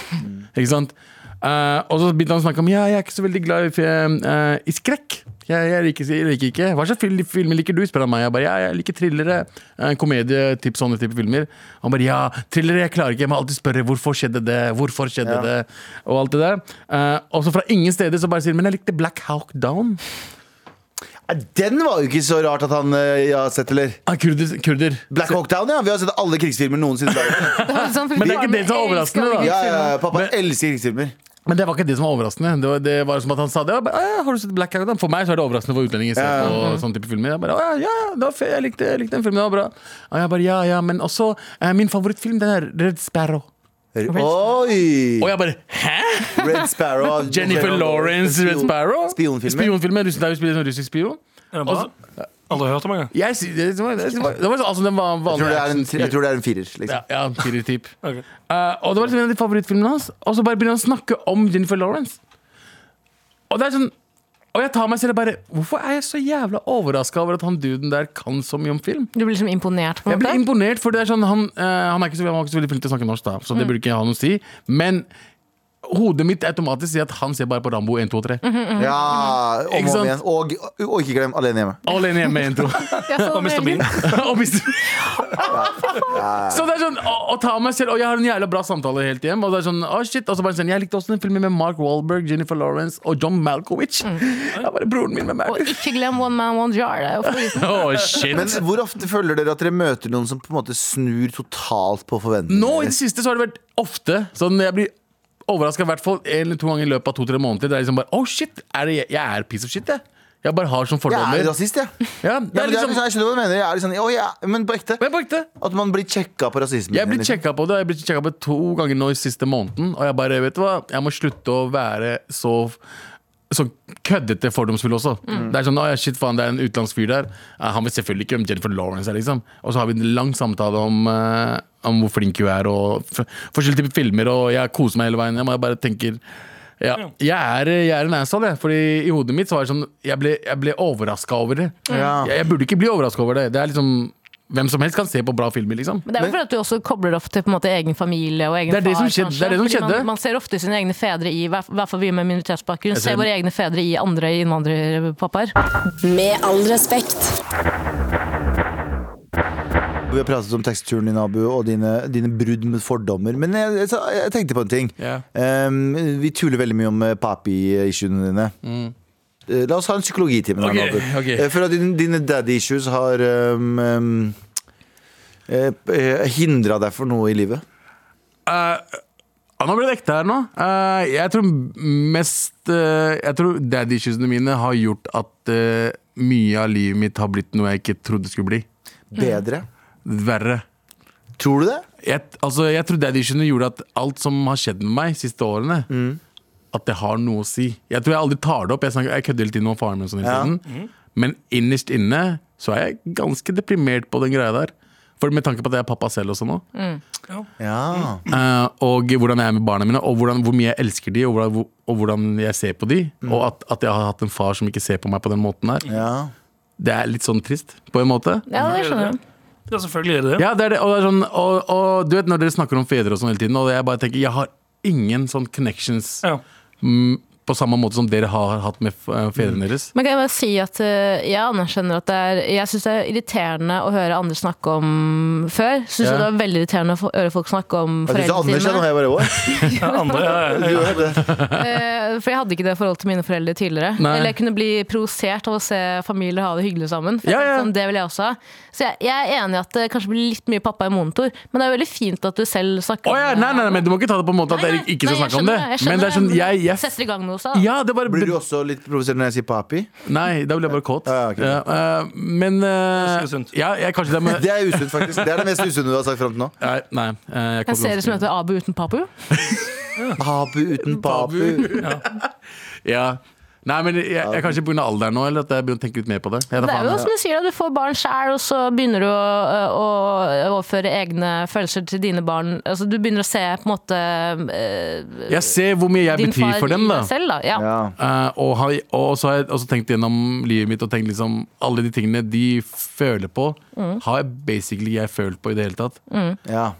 [SPEAKER 3] Ikke sant? Eh, og så begynte han å snakke om Ja, jeg er ikke så veldig glad i, fi- eh, i skrekk. Jeg, jeg, liker, jeg liker ikke Hva slags fil- filmer liker du? spør han meg. Jeg bare, ja, jeg liker thrillere, eh, komedie, typ, sånne type filmer. Han bare ja, thrillere jeg klarer ikke. Jeg må alltid spørre hvorfor skjedde det? Hvorfor skjedde det? Og alt det der. Eh, og så fra ingen steder så bare sier han, men jeg likte Black Hawk Down.
[SPEAKER 2] Ja, Den var jo ikke så rart at han eh, har sett, eller?
[SPEAKER 3] Ah, kurder, kurder.
[SPEAKER 2] Black Hawk Down, ja. Vi har sett alle krigsfilmer noensinne.
[SPEAKER 4] Det var litt sånn,
[SPEAKER 3] Men det er ikke
[SPEAKER 4] faren
[SPEAKER 3] det som er
[SPEAKER 4] elsker
[SPEAKER 3] overraskende, da.
[SPEAKER 4] alle
[SPEAKER 2] Ja, ja, ja.
[SPEAKER 4] guttfilmer.
[SPEAKER 2] Pappa elsker krigsfilmer.
[SPEAKER 3] Men det var ikke det som var overraskende. Det var, det var som at han sa det. Jeg Bare, «Å, har du sett Black Hawk Down? For meg så er det overraskende for utlendinger å se
[SPEAKER 2] Ja, Mm. ja.
[SPEAKER 3] på sånne type filmer. Jeg bare, «Å, ja, ja, det var fe- jeg, likte, jeg likte den filmen, det var bra. Og jeg bare, ja, ja, men også eh, min favorittfilm, den er Red Sparrow.
[SPEAKER 2] Oi!
[SPEAKER 3] Og jeg bare, hæ?
[SPEAKER 2] Red Sparrow. av
[SPEAKER 3] Jennifer
[SPEAKER 2] Jennifer
[SPEAKER 3] Lawrence, Red
[SPEAKER 2] Spion-
[SPEAKER 3] Sparrow?
[SPEAKER 2] Spionfilmer.
[SPEAKER 3] Spionfilmer, russen der hun spiller en russisk spion.
[SPEAKER 5] Er det bra? Aldri hørt om engang.
[SPEAKER 3] Jeg, sy- det, det, var, det, var, det var altså, den var
[SPEAKER 2] Jeg tror, det er en,
[SPEAKER 3] actionspion.
[SPEAKER 2] jeg tror det er en firer.
[SPEAKER 3] Ja,
[SPEAKER 2] Liksom.
[SPEAKER 3] ja firer typ.
[SPEAKER 5] Ok.
[SPEAKER 3] Eh, og det var liksom en av de favorittfilmene hans. Og så bare begynner han å snakke om Jennifer Lawrence. Og det er sånn Og jeg tar meg selv og bare Hvorfor er jeg så jævla overraska over at han duden der kan så mye om film?
[SPEAKER 4] Du blir liksom imponert? på en
[SPEAKER 3] Jeg blir
[SPEAKER 4] måte?
[SPEAKER 3] imponert, for det er sånn han, eh, han, er ikke så, han var ikke så veldig flink til å snakke norsk, da, så det burde ikke ha noe å si. Men hodet mitt automatisk sier at han ser bare på Rambo 1, 2 og 3.
[SPEAKER 2] Ja, om
[SPEAKER 3] Ikke
[SPEAKER 2] og om
[SPEAKER 3] sant?
[SPEAKER 2] igjen. Og, og ikke glem Alene hjemme.
[SPEAKER 3] Alene hjemme 1, 2.
[SPEAKER 5] Og Mr. Bean.
[SPEAKER 3] og mister Så det er sånn å, å ta meg selv Og jeg har en jævla bra samtale helt hjem Og det er sånn, å shit Og så bare sånn, jeg likte også den filmen med Mark Wahlberg Jennifer Lawrence og John Malkovich Jeg er bare broren min med
[SPEAKER 4] Og
[SPEAKER 3] meg
[SPEAKER 4] ikke glem One Man One Jar. Det er jo foruten.
[SPEAKER 3] Åh, Oh, shit
[SPEAKER 2] Men hvor ofte føler dere at dere møter noen som på en måte snur totalt på forventningene?
[SPEAKER 3] Nå i det siste så har det vært ofte Sånn jeg blir overrasket i hvert fall En eller to ganger i løpet av to-tre måneder Det er liksom bare, åh shit er det, Jeg er piece of shit jeg Jeg bare har sånn
[SPEAKER 2] Jeg
[SPEAKER 3] fordommer
[SPEAKER 2] er rasist, jeg. Ja.
[SPEAKER 3] Ja,
[SPEAKER 2] Ja, men
[SPEAKER 3] det er
[SPEAKER 2] det er
[SPEAKER 3] liksom
[SPEAKER 2] liksom, jeg skjønner hva du mener. Jeg er liksom, «Å, ja, men på ekte.
[SPEAKER 3] Men på ekte
[SPEAKER 2] At man blir sjekka på rasismen.
[SPEAKER 3] Jeg blir
[SPEAKER 2] liksom.
[SPEAKER 3] sjekka på det Jeg blir sjekka på det to ganger nå i siste måneden. Og jeg bare, vet du hva, jeg må slutte å være så så køddete fordomsfull også. Det er sånn, «Å, ja, shit faen, det er en utenlandsk fyr der. Ja, Han vet selvfølgelig ikke hvem Jennifer Lawrence er, liksom. Og så har vi en lang samtale om, eh, om hvor flink hun er, og f- forskjellige typer filmer, og jeg koser meg hele veien. Jeg må bare tenker ja, jeg er, jeg er en asshole, jeg. Fordi i hodet mitt så var det sånn Jeg ble, jeg ble overraska over det.
[SPEAKER 2] Ja.
[SPEAKER 3] Jeg, jeg burde ikke bli overraska over det. Det er liksom Hvem som helst kan se på bra filmer, liksom.
[SPEAKER 4] Men det er jo fordi at du også kobler opp til på en måte egen familie og egen
[SPEAKER 3] Det er det som
[SPEAKER 4] far.
[SPEAKER 3] skjedde-
[SPEAKER 4] kanskje.
[SPEAKER 3] det er det som
[SPEAKER 4] Fordi
[SPEAKER 3] skjedde.
[SPEAKER 4] Man, man ser ofte sine egne fedre i, i hvert fall vi med minoritetsbakgrunn,
[SPEAKER 3] Jeg ser-
[SPEAKER 4] ser våre egne fedre i andre innvandrerpappaer.
[SPEAKER 7] Med all respekt.
[SPEAKER 2] Vi har pratet om tekstturen din, Abu, og dine, dine brudd med fordommer. Men jeg, jeg, sa- jeg tenkte på en ting.
[SPEAKER 3] Ja.
[SPEAKER 2] Um, vi tuller veldig mye om eh, papi-issuene dine. Eh, La oss ha en psykologitime. da,
[SPEAKER 3] Mm. Ok,
[SPEAKER 2] Abu.
[SPEAKER 3] ok.
[SPEAKER 2] Eh, For at dine, dine daddy-issues har eh, um, um, hindra deg for noe i livet.
[SPEAKER 3] Eh, Ja, nå ble det ekte her nå. Eh, jeg tror mest eh, Jeg tror daddy-issuesene mine har gjort at eh, mye av livet mitt har blitt noe jeg ikke trodde skulle bli.
[SPEAKER 2] Bedre.
[SPEAKER 3] Verre.
[SPEAKER 2] Tror du det?
[SPEAKER 3] Jeg, altså, jeg tror daddy-issuene gjorde at alt som har skjedd med meg de siste årene, at det har noe å si. Jeg tror jeg aldri tar det opp. Jeg, snakker, jeg kødder hele tiden om faren min, og sånn hele
[SPEAKER 2] Ja.
[SPEAKER 3] tiden. men innerst inne så er jeg ganske deprimert på den greia der. For Med tanke på at jeg er pappa selv også nå.
[SPEAKER 2] Ja.
[SPEAKER 3] Eh, og hvordan jeg er med barna mine, og hvordan, hvor mye jeg elsker de, og hvordan, hvor- og hvordan jeg ser på de. Og at, at jeg har hatt en far som ikke ser på meg på den måten her.
[SPEAKER 2] ja.
[SPEAKER 3] Det er litt sånn trist, på en måte.
[SPEAKER 4] Ja, det skjønner jeg.
[SPEAKER 5] Ja, selvfølgelig er det det.
[SPEAKER 3] Ja, det er det, og det er sånn, og, og du vet når dere snakker om fedre og sånn hele tiden, og jeg bare tenker, jeg har ingen sånn connections
[SPEAKER 5] Ja.
[SPEAKER 3] mm, på samme måte som dere har hatt med eh, fedrene deres.
[SPEAKER 4] Men kan jeg bare si at eh, jeg anerkjenner at det er Jeg syns det er irriterende å høre andre snakke om før. Syns
[SPEAKER 3] Ja.
[SPEAKER 4] det var veldig irriterende å få- høre folk snakke om
[SPEAKER 2] Jeg synes
[SPEAKER 4] foreldrene
[SPEAKER 2] Anders er
[SPEAKER 4] sine.
[SPEAKER 2] noe jeg bare What?
[SPEAKER 5] Ja, andre, ja, ja,
[SPEAKER 2] Du
[SPEAKER 5] ja.
[SPEAKER 2] gjør det.
[SPEAKER 4] Eh, For jeg hadde ikke det forholdet til mine foreldre tidligere.
[SPEAKER 3] Nei.
[SPEAKER 4] Eller jeg kunne bli provosert av å se familier ha det hyggelig sammen. For jeg
[SPEAKER 3] Ja, ja.
[SPEAKER 4] tenkte Sånn, det vil jeg også ha. Så jeg, jeg er enig i at det kanskje blir litt mye pappa i monitor, men det er jo veldig fint at du selv
[SPEAKER 3] Å
[SPEAKER 4] snakker
[SPEAKER 3] ja, nei, nei, nei, men du må ikke ta det på en måte at
[SPEAKER 4] Nei,
[SPEAKER 3] dere
[SPEAKER 4] nei,
[SPEAKER 3] ikke skal
[SPEAKER 4] nei, jeg
[SPEAKER 3] snakke om det.
[SPEAKER 4] skjønner jeg
[SPEAKER 3] Men det er
[SPEAKER 4] skjønner
[SPEAKER 3] sånn, jeg, jeg
[SPEAKER 4] Setter i gang noe også. da.
[SPEAKER 3] ja, det bare,
[SPEAKER 2] Blir du også litt provosert når jeg sier papi?
[SPEAKER 3] Nei, da blir jeg bare kåt.
[SPEAKER 2] Ja, ok.
[SPEAKER 3] Ja, eh, men eh,
[SPEAKER 5] Det er sunt.
[SPEAKER 3] ja, jeg, kanskje det er med,
[SPEAKER 2] Det er usunt, faktisk. Det er det mest usunne du har sagt fram til nå.
[SPEAKER 3] Nei, nei eh, jeg
[SPEAKER 4] En serie som
[SPEAKER 3] kommer til å-
[SPEAKER 4] heter Abu uten papu.
[SPEAKER 2] Abu uten papu.
[SPEAKER 3] ja. Nei, men jeg, jeg er kanskje pga. alderen nå, eller at jeg begynner å tenke litt mer på det. Jeg vet
[SPEAKER 4] Det er
[SPEAKER 3] faen.
[SPEAKER 4] jo som du sier, da, du får barn sjæl, og så begynner du å, å overføre egne følelser til dine barn. Altså, du begynner å se på en måte eh,
[SPEAKER 3] jeg ser hvor mye jeg
[SPEAKER 4] din
[SPEAKER 3] betyr
[SPEAKER 4] far
[SPEAKER 3] for dem,
[SPEAKER 4] i
[SPEAKER 3] da.
[SPEAKER 4] deg selv. Da. Ja.
[SPEAKER 2] Ja.
[SPEAKER 3] Eh, og, har, og så har jeg også tenkt gjennom livet mitt og tenkt liksom alle de tingene de føler på,
[SPEAKER 4] Mm.
[SPEAKER 3] har jeg basically jeg følt på i det hele tatt.
[SPEAKER 2] Ja.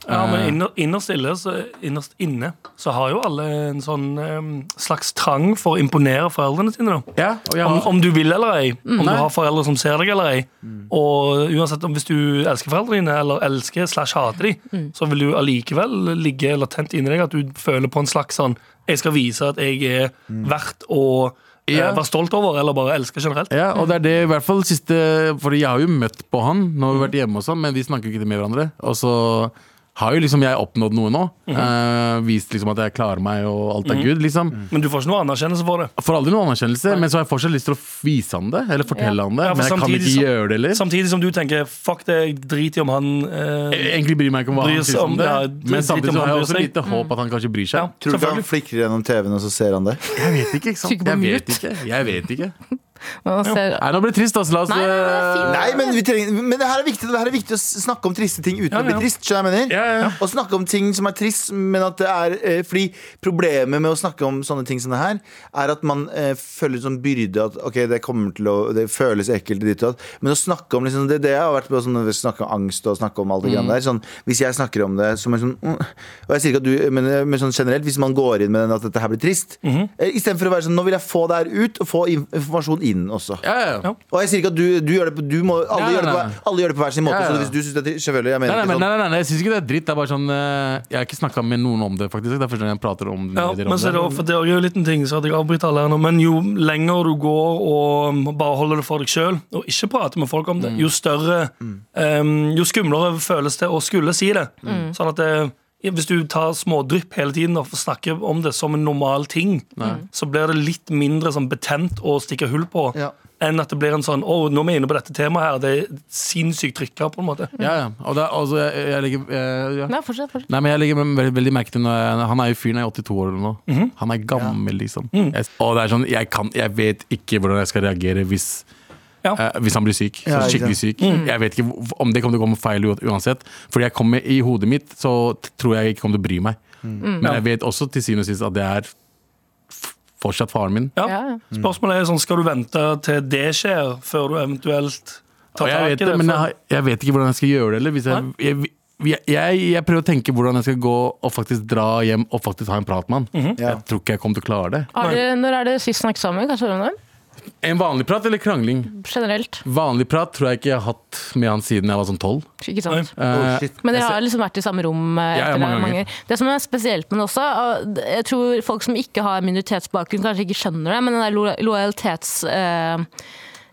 [SPEAKER 5] Ja,
[SPEAKER 3] Eh.
[SPEAKER 5] men inner, innerst, inne, så, innerst inne så har jo alle en sånn em, slags trang for å imponere foreldrene sine. da
[SPEAKER 3] Ja, og jeg
[SPEAKER 5] om,
[SPEAKER 3] har,
[SPEAKER 5] om du vil eller ei, om du
[SPEAKER 3] Nei. Mm.
[SPEAKER 5] har foreldre som ser deg eller ei. Og uansett om hvis du elsker foreldrene dine, eller elsker slash hater de,
[SPEAKER 3] Mm.
[SPEAKER 5] så vil du allikevel ligge latent inni deg at du føler på en slags sånn Jeg skal vise at jeg er verdt å eh,
[SPEAKER 3] Mm. Ja.
[SPEAKER 5] være stolt over, eller bare elske generelt.
[SPEAKER 3] ja, og det er det i hvert fall siste For jeg har jo møtt på han når vi har vært
[SPEAKER 4] Mm.
[SPEAKER 3] hjemme og sånn, men vi snakker ikke med hverandre. Og så har jo liksom jeg oppnådd noe nå.
[SPEAKER 5] Mm-hmm.
[SPEAKER 3] Eh, vist liksom at jeg klarer meg og alt er good, liksom.
[SPEAKER 5] Men du får ikke noe anerkjennelse for det.
[SPEAKER 3] Får aldri noen anerkjennelse, men så har jeg fortsatt lyst til å vise han det. Eller fortelle han det,
[SPEAKER 5] Ja, for
[SPEAKER 3] men jeg kan
[SPEAKER 5] samtidig
[SPEAKER 3] ikke
[SPEAKER 5] så-
[SPEAKER 3] gjøre det heller.
[SPEAKER 5] Samtidig som du tenker 'fuck det, jeg driter i om han eh,
[SPEAKER 3] Egentlig bryr jeg meg ikke om hva
[SPEAKER 5] Bryr
[SPEAKER 3] han
[SPEAKER 5] seg
[SPEAKER 3] syns om
[SPEAKER 5] om-
[SPEAKER 3] det.
[SPEAKER 5] ja,
[SPEAKER 3] men
[SPEAKER 5] drit
[SPEAKER 3] samtidig så
[SPEAKER 5] om han
[SPEAKER 3] har jeg
[SPEAKER 5] bryr
[SPEAKER 3] også
[SPEAKER 5] seg.
[SPEAKER 3] lite håp at han kanskje bryr
[SPEAKER 5] ja,
[SPEAKER 3] seg.
[SPEAKER 2] Tror du ikke
[SPEAKER 5] selvfølgelig.
[SPEAKER 2] han flikrer gjennom TV-en, og så ser han det?
[SPEAKER 3] Jeg vet ikke, ikke sant?
[SPEAKER 4] Trykker på
[SPEAKER 3] Jeg vet
[SPEAKER 4] mute.
[SPEAKER 3] ikke. Jeg vet ikke.
[SPEAKER 4] Man ser,
[SPEAKER 3] Nei, nå blir det trist, altså. La oss eh,
[SPEAKER 4] Nei, nei, nei, det er fint.
[SPEAKER 2] Nei, men, vi trenger, men det, her er viktig, det her er viktig å s- snakke om triste ting uten
[SPEAKER 5] Ja,
[SPEAKER 2] å bli
[SPEAKER 5] ja.
[SPEAKER 2] trist. Skjønner du hva jeg mener?
[SPEAKER 3] Ja, ja, ja.
[SPEAKER 2] Å snakke om ting som er trist, men at det er eh, Fordi problemet med å snakke om sånne ting som det her, er at man eh, føler sånn byrde at OK, det kommer til å Det føles ekkelt og ditt og datt. Men å snakke om liksom, det, det har vært på sånn, snakke om angst og snakke om alt det greiene der. Sånn, hvis jeg snakker om det som en sånn mm, Og jeg sier ikke at du Men, men sånn generelt, hvis man går inn med den at dette her blir trist, mm
[SPEAKER 3] Mhm.
[SPEAKER 2] istedenfor å være sånn Nå vil jeg få det her ut, og få in- informasjon inn også.
[SPEAKER 3] Ja, ja. ja.
[SPEAKER 2] Og jeg sier ikke at du, du gjør det på du må, alle,
[SPEAKER 3] Nei, nei,
[SPEAKER 2] gjør det på,
[SPEAKER 3] nei.
[SPEAKER 2] alle gjør det på hver sin måte.
[SPEAKER 3] Ja, ja, ja.
[SPEAKER 2] Så hvis du synes det er tri- Selvfølgelig. Jeg mener
[SPEAKER 3] Nei, nei, men,
[SPEAKER 2] ikke
[SPEAKER 3] nei,
[SPEAKER 2] sånn.
[SPEAKER 3] nei, nei, jeg syns ikke det er dritt. Det er bare sånn eh, Jeg har ikke snakka med noen om det, faktisk. Det er første gang jeg prater om
[SPEAKER 5] Ja,
[SPEAKER 3] medier om
[SPEAKER 5] men så er det, også- for det er jo en liten ting, så at jeg avbryter alle her nå, men jo lenger du går og bare holder det for deg sjøl, og ikke prater med folk om det, jo større em, Jo skumlere føles det å skulle si det. Sånn at det, hvis du tar smådrypp hele tiden og snakker om det som en normal ting, så blir det litt mindre sånn betent å stikke hull på.
[SPEAKER 2] Ja.
[SPEAKER 5] Enn at det blir en sånn Å, nå er vi inne på dette temaet her. Det er sinnssykt trykka, på en måte.
[SPEAKER 3] Ja, ja. Og det er altså jeg, jeg legger eh, ja.
[SPEAKER 4] nei, fortsett, fortsett.
[SPEAKER 3] Nei, men jeg legger veldig, veldig merke til når jeg, Han er jo fyren er 82 år eller noe.
[SPEAKER 5] Mhm.
[SPEAKER 3] Han er gammel, liksom. Jeg, og det er sånn, jeg, kan, jeg vet ikke hvordan jeg skal reagere hvis
[SPEAKER 5] Ja. Mhm.
[SPEAKER 3] eh, hvis han blir syk.
[SPEAKER 2] Ja,
[SPEAKER 3] sånn
[SPEAKER 2] ikke
[SPEAKER 3] skikkelig syk. Jeg vet ikke hvor- om det kommer til å komme feil u- uansett. Fordi jeg kommer i hodet mitt, så t- tror jeg ikke kommer til å bry meg.
[SPEAKER 2] Mhm.
[SPEAKER 3] Men
[SPEAKER 5] Mhm.
[SPEAKER 3] jeg vet også til syvende og sist at det er f- fortsatt faren min.
[SPEAKER 5] Ja.
[SPEAKER 4] Ja, ja.
[SPEAKER 5] Spørsmålet er sånn, skal du vente til det skjer, før du eventuelt
[SPEAKER 3] Og
[SPEAKER 5] tar
[SPEAKER 3] jeg
[SPEAKER 5] tak i
[SPEAKER 3] vet
[SPEAKER 5] det?
[SPEAKER 3] det, men
[SPEAKER 5] For-
[SPEAKER 3] jeg, har- jeg vet ikke hvordan jeg skal gjøre det. Eller hvis jeg, jeg, jeg, jeg, jeg prøver å tenke hvordan jeg skal gå og faktisk dra hjem og faktisk ha en prat med han.
[SPEAKER 5] Mhm.
[SPEAKER 2] Ja.
[SPEAKER 3] Jeg tror ikke jeg kommer til å klare det.
[SPEAKER 4] Har dere, når er det sist snakket sammen? Kanskje om det?
[SPEAKER 3] En vanlig prat eller krangling?
[SPEAKER 4] Generelt.
[SPEAKER 3] Vanlig prat tror jeg ikke jeg har hatt med han siden jeg var sånn tolv.
[SPEAKER 4] Ikke sant?
[SPEAKER 2] Oh, shit.
[SPEAKER 4] Men dere har liksom vært i samme rom
[SPEAKER 3] Ja,
[SPEAKER 4] eh,
[SPEAKER 3] ja,
[SPEAKER 4] etter
[SPEAKER 3] mange
[SPEAKER 4] det mange
[SPEAKER 3] ganger.
[SPEAKER 4] ganger. Det som er spesielt med det også, og jeg tror folk som ikke har minoritetsbakgrunn kanskje ikke skjønner det, men den der lo- lojalitets... eh,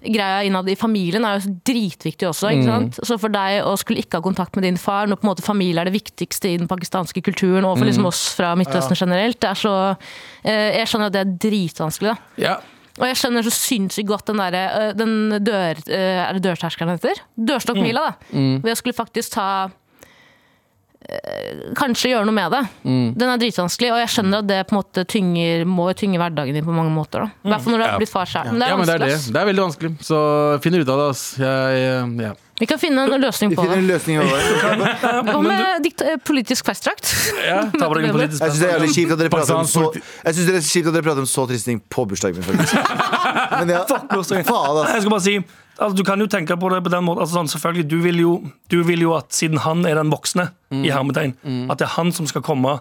[SPEAKER 4] Greia innad i familien er jo dritviktig også. Ikke
[SPEAKER 3] Mm.
[SPEAKER 4] sant? Så for deg å skulle ikke ha kontakt med din far, når på en måte familie er det viktigste i den pakistanske kulturen, og
[SPEAKER 3] Mm.
[SPEAKER 4] for liksom oss fra Midtøsten generelt, det er så eh, Jeg skjønner at det er dritvanskelig, da.
[SPEAKER 3] Ja.
[SPEAKER 4] Og jeg skjønner så sinnssykt godt den derre øh, Den dør... øh, Er det dørterskelen den heter?
[SPEAKER 3] Mm.
[SPEAKER 4] Dørstokkmila, da. Ved å skulle faktisk ta øh, Kanskje gjøre noe med det.
[SPEAKER 3] Mm.
[SPEAKER 4] Den er dritvanskelig, og jeg skjønner at det på en måte tynger, må tynge hverdagen din på mange måter. I hvert fall når du
[SPEAKER 3] Mm. Ja.
[SPEAKER 4] har blitt far selv. Men det
[SPEAKER 3] ja,
[SPEAKER 4] er
[SPEAKER 3] men det er
[SPEAKER 4] vanskelig.
[SPEAKER 3] det.
[SPEAKER 4] ass.
[SPEAKER 3] Det er veldig vanskelig. Så finner ut av det, ass. Jeg, jeg- ja.
[SPEAKER 4] Vi kan finne en løsning
[SPEAKER 2] Vi
[SPEAKER 4] på
[SPEAKER 2] finner
[SPEAKER 4] det.
[SPEAKER 2] en løsning over det.
[SPEAKER 4] Hva med dikt eh, politisk fastdrakt?
[SPEAKER 5] Ta på deg en politisk
[SPEAKER 2] Jeg syns det er jævlig kjipt at dere prater om
[SPEAKER 3] Pakistansk
[SPEAKER 2] så
[SPEAKER 3] politi-
[SPEAKER 2] Jeg synes det er kjipt at dere prater om så triste ting på bursdagen min, faktisk. Men ja,
[SPEAKER 5] bursdagen.
[SPEAKER 2] faen,
[SPEAKER 5] Nei,
[SPEAKER 2] ass.
[SPEAKER 5] Jeg skal bare si altså, Du kan jo tenke på det på den måten. Altså, sånn, selvfølgelig, du vil, jo, du vil jo at siden han er den voksne,
[SPEAKER 3] Mm.
[SPEAKER 5] i hermetegn, at det er han som skal komme,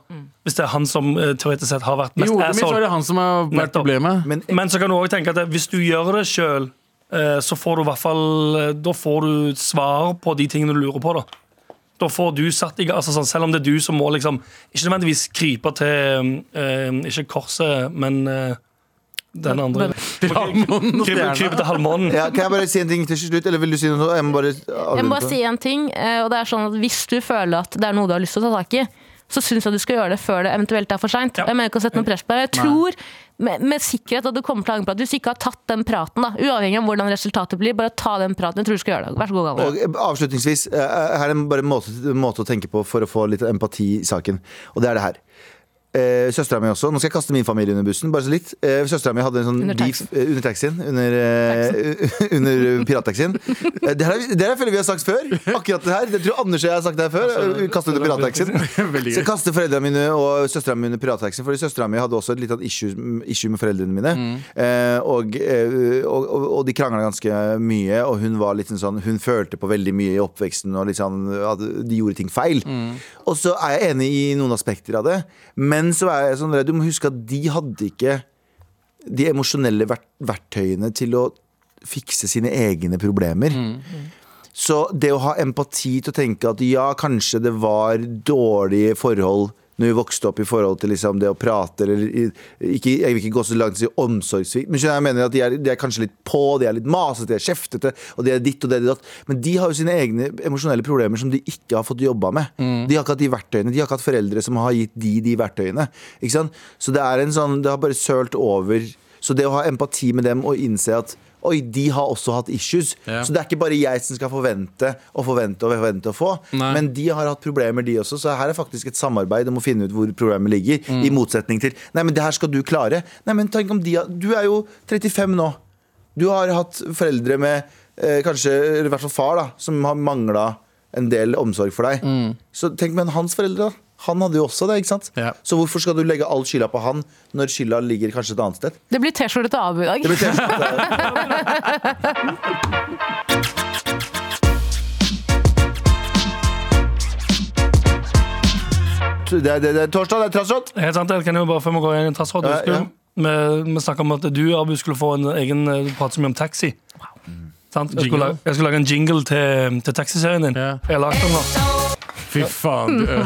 [SPEAKER 5] hvis det er han som eh, teoretisk sett har vært
[SPEAKER 3] I
[SPEAKER 5] mest
[SPEAKER 3] hodet mitt så er
[SPEAKER 5] asshole.
[SPEAKER 3] det han som har vært
[SPEAKER 5] Nettopp.
[SPEAKER 3] problemet.
[SPEAKER 2] Men
[SPEAKER 5] Men så kan du òg tenke at hvis du gjør det sjøl, så får du i hvert fall eh, Da får du svar på de tingene du lurer på, da. Da får du satt i gang, altså sånn, Selv om det er du som må liksom Ikke nødvendigvis krype til eh, Ikke korset, men eh, den andre.
[SPEAKER 3] Til Halvmånen og
[SPEAKER 5] Krype, krype
[SPEAKER 3] stjerna.
[SPEAKER 5] til halvmånen.
[SPEAKER 2] ja, kan jeg bare si en ting til slutt, eller vil du si noe? Jeg må bare
[SPEAKER 4] Jeg må bare si en ting, eh, og det er sånn at hvis du føler at det er noe du har lyst til å ta tak i, så syns jeg du skal gjøre det før det eventuelt er for seint.
[SPEAKER 5] Ja.
[SPEAKER 4] Jeg mener ikke å sette noe press på deg. Jeg tror med, med sikkerhet at du kommer til å angre på at hvis du ikke har tatt den praten, da, uavhengig av hvordan resultatet blir, bare ta den praten. Jeg tror du skal gjøre det. Vær så god, Galvan.
[SPEAKER 2] Og avslutningsvis, eh, her er en bare måte, måte å tenke på for å få litt empati i saken. Og det er det her. Eh, Søstera mi også. Nå skal jeg kaste min familie under bussen. Bare så litt eh, Søstera mi hadde en sånn
[SPEAKER 4] Under
[SPEAKER 2] beef
[SPEAKER 4] taxien.
[SPEAKER 2] eh, under taxien. Under, eh, under pirattaxien. Eh, det, her er- det her føler vi har sagt før. Akkurat det her. Det tror jeg Anders og jeg har sagt det her før. eh, Kaste under pirattaxien.
[SPEAKER 3] Veldig
[SPEAKER 2] Så jeg
[SPEAKER 3] gøy.
[SPEAKER 2] kastet foreldrene mine og søstrene mine under pirattaxien. Fordi søstrene mine hadde også et lite issue, issue med foreldrene mine.
[SPEAKER 3] Mm.
[SPEAKER 2] Eh, og, eh, og, og, og de krangla ganske mye, og hun var litt sånn Hun følte på veldig mye i oppveksten, og litt sånn, at de gjorde ting feil.
[SPEAKER 3] Mm.
[SPEAKER 2] Og så er jeg enig i noen aspekter av det, men så er jeg sånn redd. Du må huske at de hadde ikke de emosjonelle verk- verktøyene til å fikse sine egne
[SPEAKER 3] Mm.
[SPEAKER 2] problemer. Så det å ha empati til å tenke at ja, kanskje det var dårlige forhold når vi vokste opp i forhold til liksom det å prate eller i- ikke, Jeg vil ikke gå så langt til å si omsorgssvikt, men skjønner jeg, jeg mener at de er, de er kanskje litt på, de er litt masete, de er kjeftete, og de er ditt og det er datt. Men de har jo sine egne emosjonelle problemer som de ikke har fått jobba med. De har ikke hatt de verktøyene, de har ikke hatt foreldre som har gitt de de verktøyene. Ikke sant? Så det er en sånn Det har bare sølt over. Så det å ha empati med dem og innse at Oi, de har også hatt issues.
[SPEAKER 3] Ja.
[SPEAKER 2] Så det er ikke bare jeg som skal forvente og forvente og forvente å få.
[SPEAKER 3] Nei.
[SPEAKER 2] Men de har hatt problemer, de også, så her er faktisk et samarbeid om å finne ut hvor problemet ligger.
[SPEAKER 3] Mm.
[SPEAKER 2] I motsetning til Nei, men det her skal du klare. Nei, men tenk om de har Du er jo 35 nå. Du har hatt foreldre med eh, kanskje, eller i hvert fall far, da, som har mangla en del omsorg for deg. Så tenk med hans foreldre, da. Han hadde jo også det, ikke sant?
[SPEAKER 3] Mm. Ja.
[SPEAKER 2] Så hvorfor skal du legge all skylda på han når skylda ligger kanskje et annet sted?
[SPEAKER 4] Det blir T-skjorte til Abu i dag.
[SPEAKER 2] Det blir tjeneste. Det er, det, er- det er torsdag, det er trassråd.
[SPEAKER 5] Det er Helt sant, det kan jeg jo bare før vi går inn i trassrådet.
[SPEAKER 2] Ja,
[SPEAKER 5] husker
[SPEAKER 2] ja.
[SPEAKER 5] du? Vi, vi snakket om at du, Abu, skulle få en egen eh, Du prater så mye om taxi. Sant? Jeg, skulle
[SPEAKER 3] Jingle.
[SPEAKER 5] lage, jeg skulle lage en jingle til, til taxiserien din.
[SPEAKER 3] Ja.
[SPEAKER 5] Jeg har lagd den nå.
[SPEAKER 3] Fy faen. Du, ø.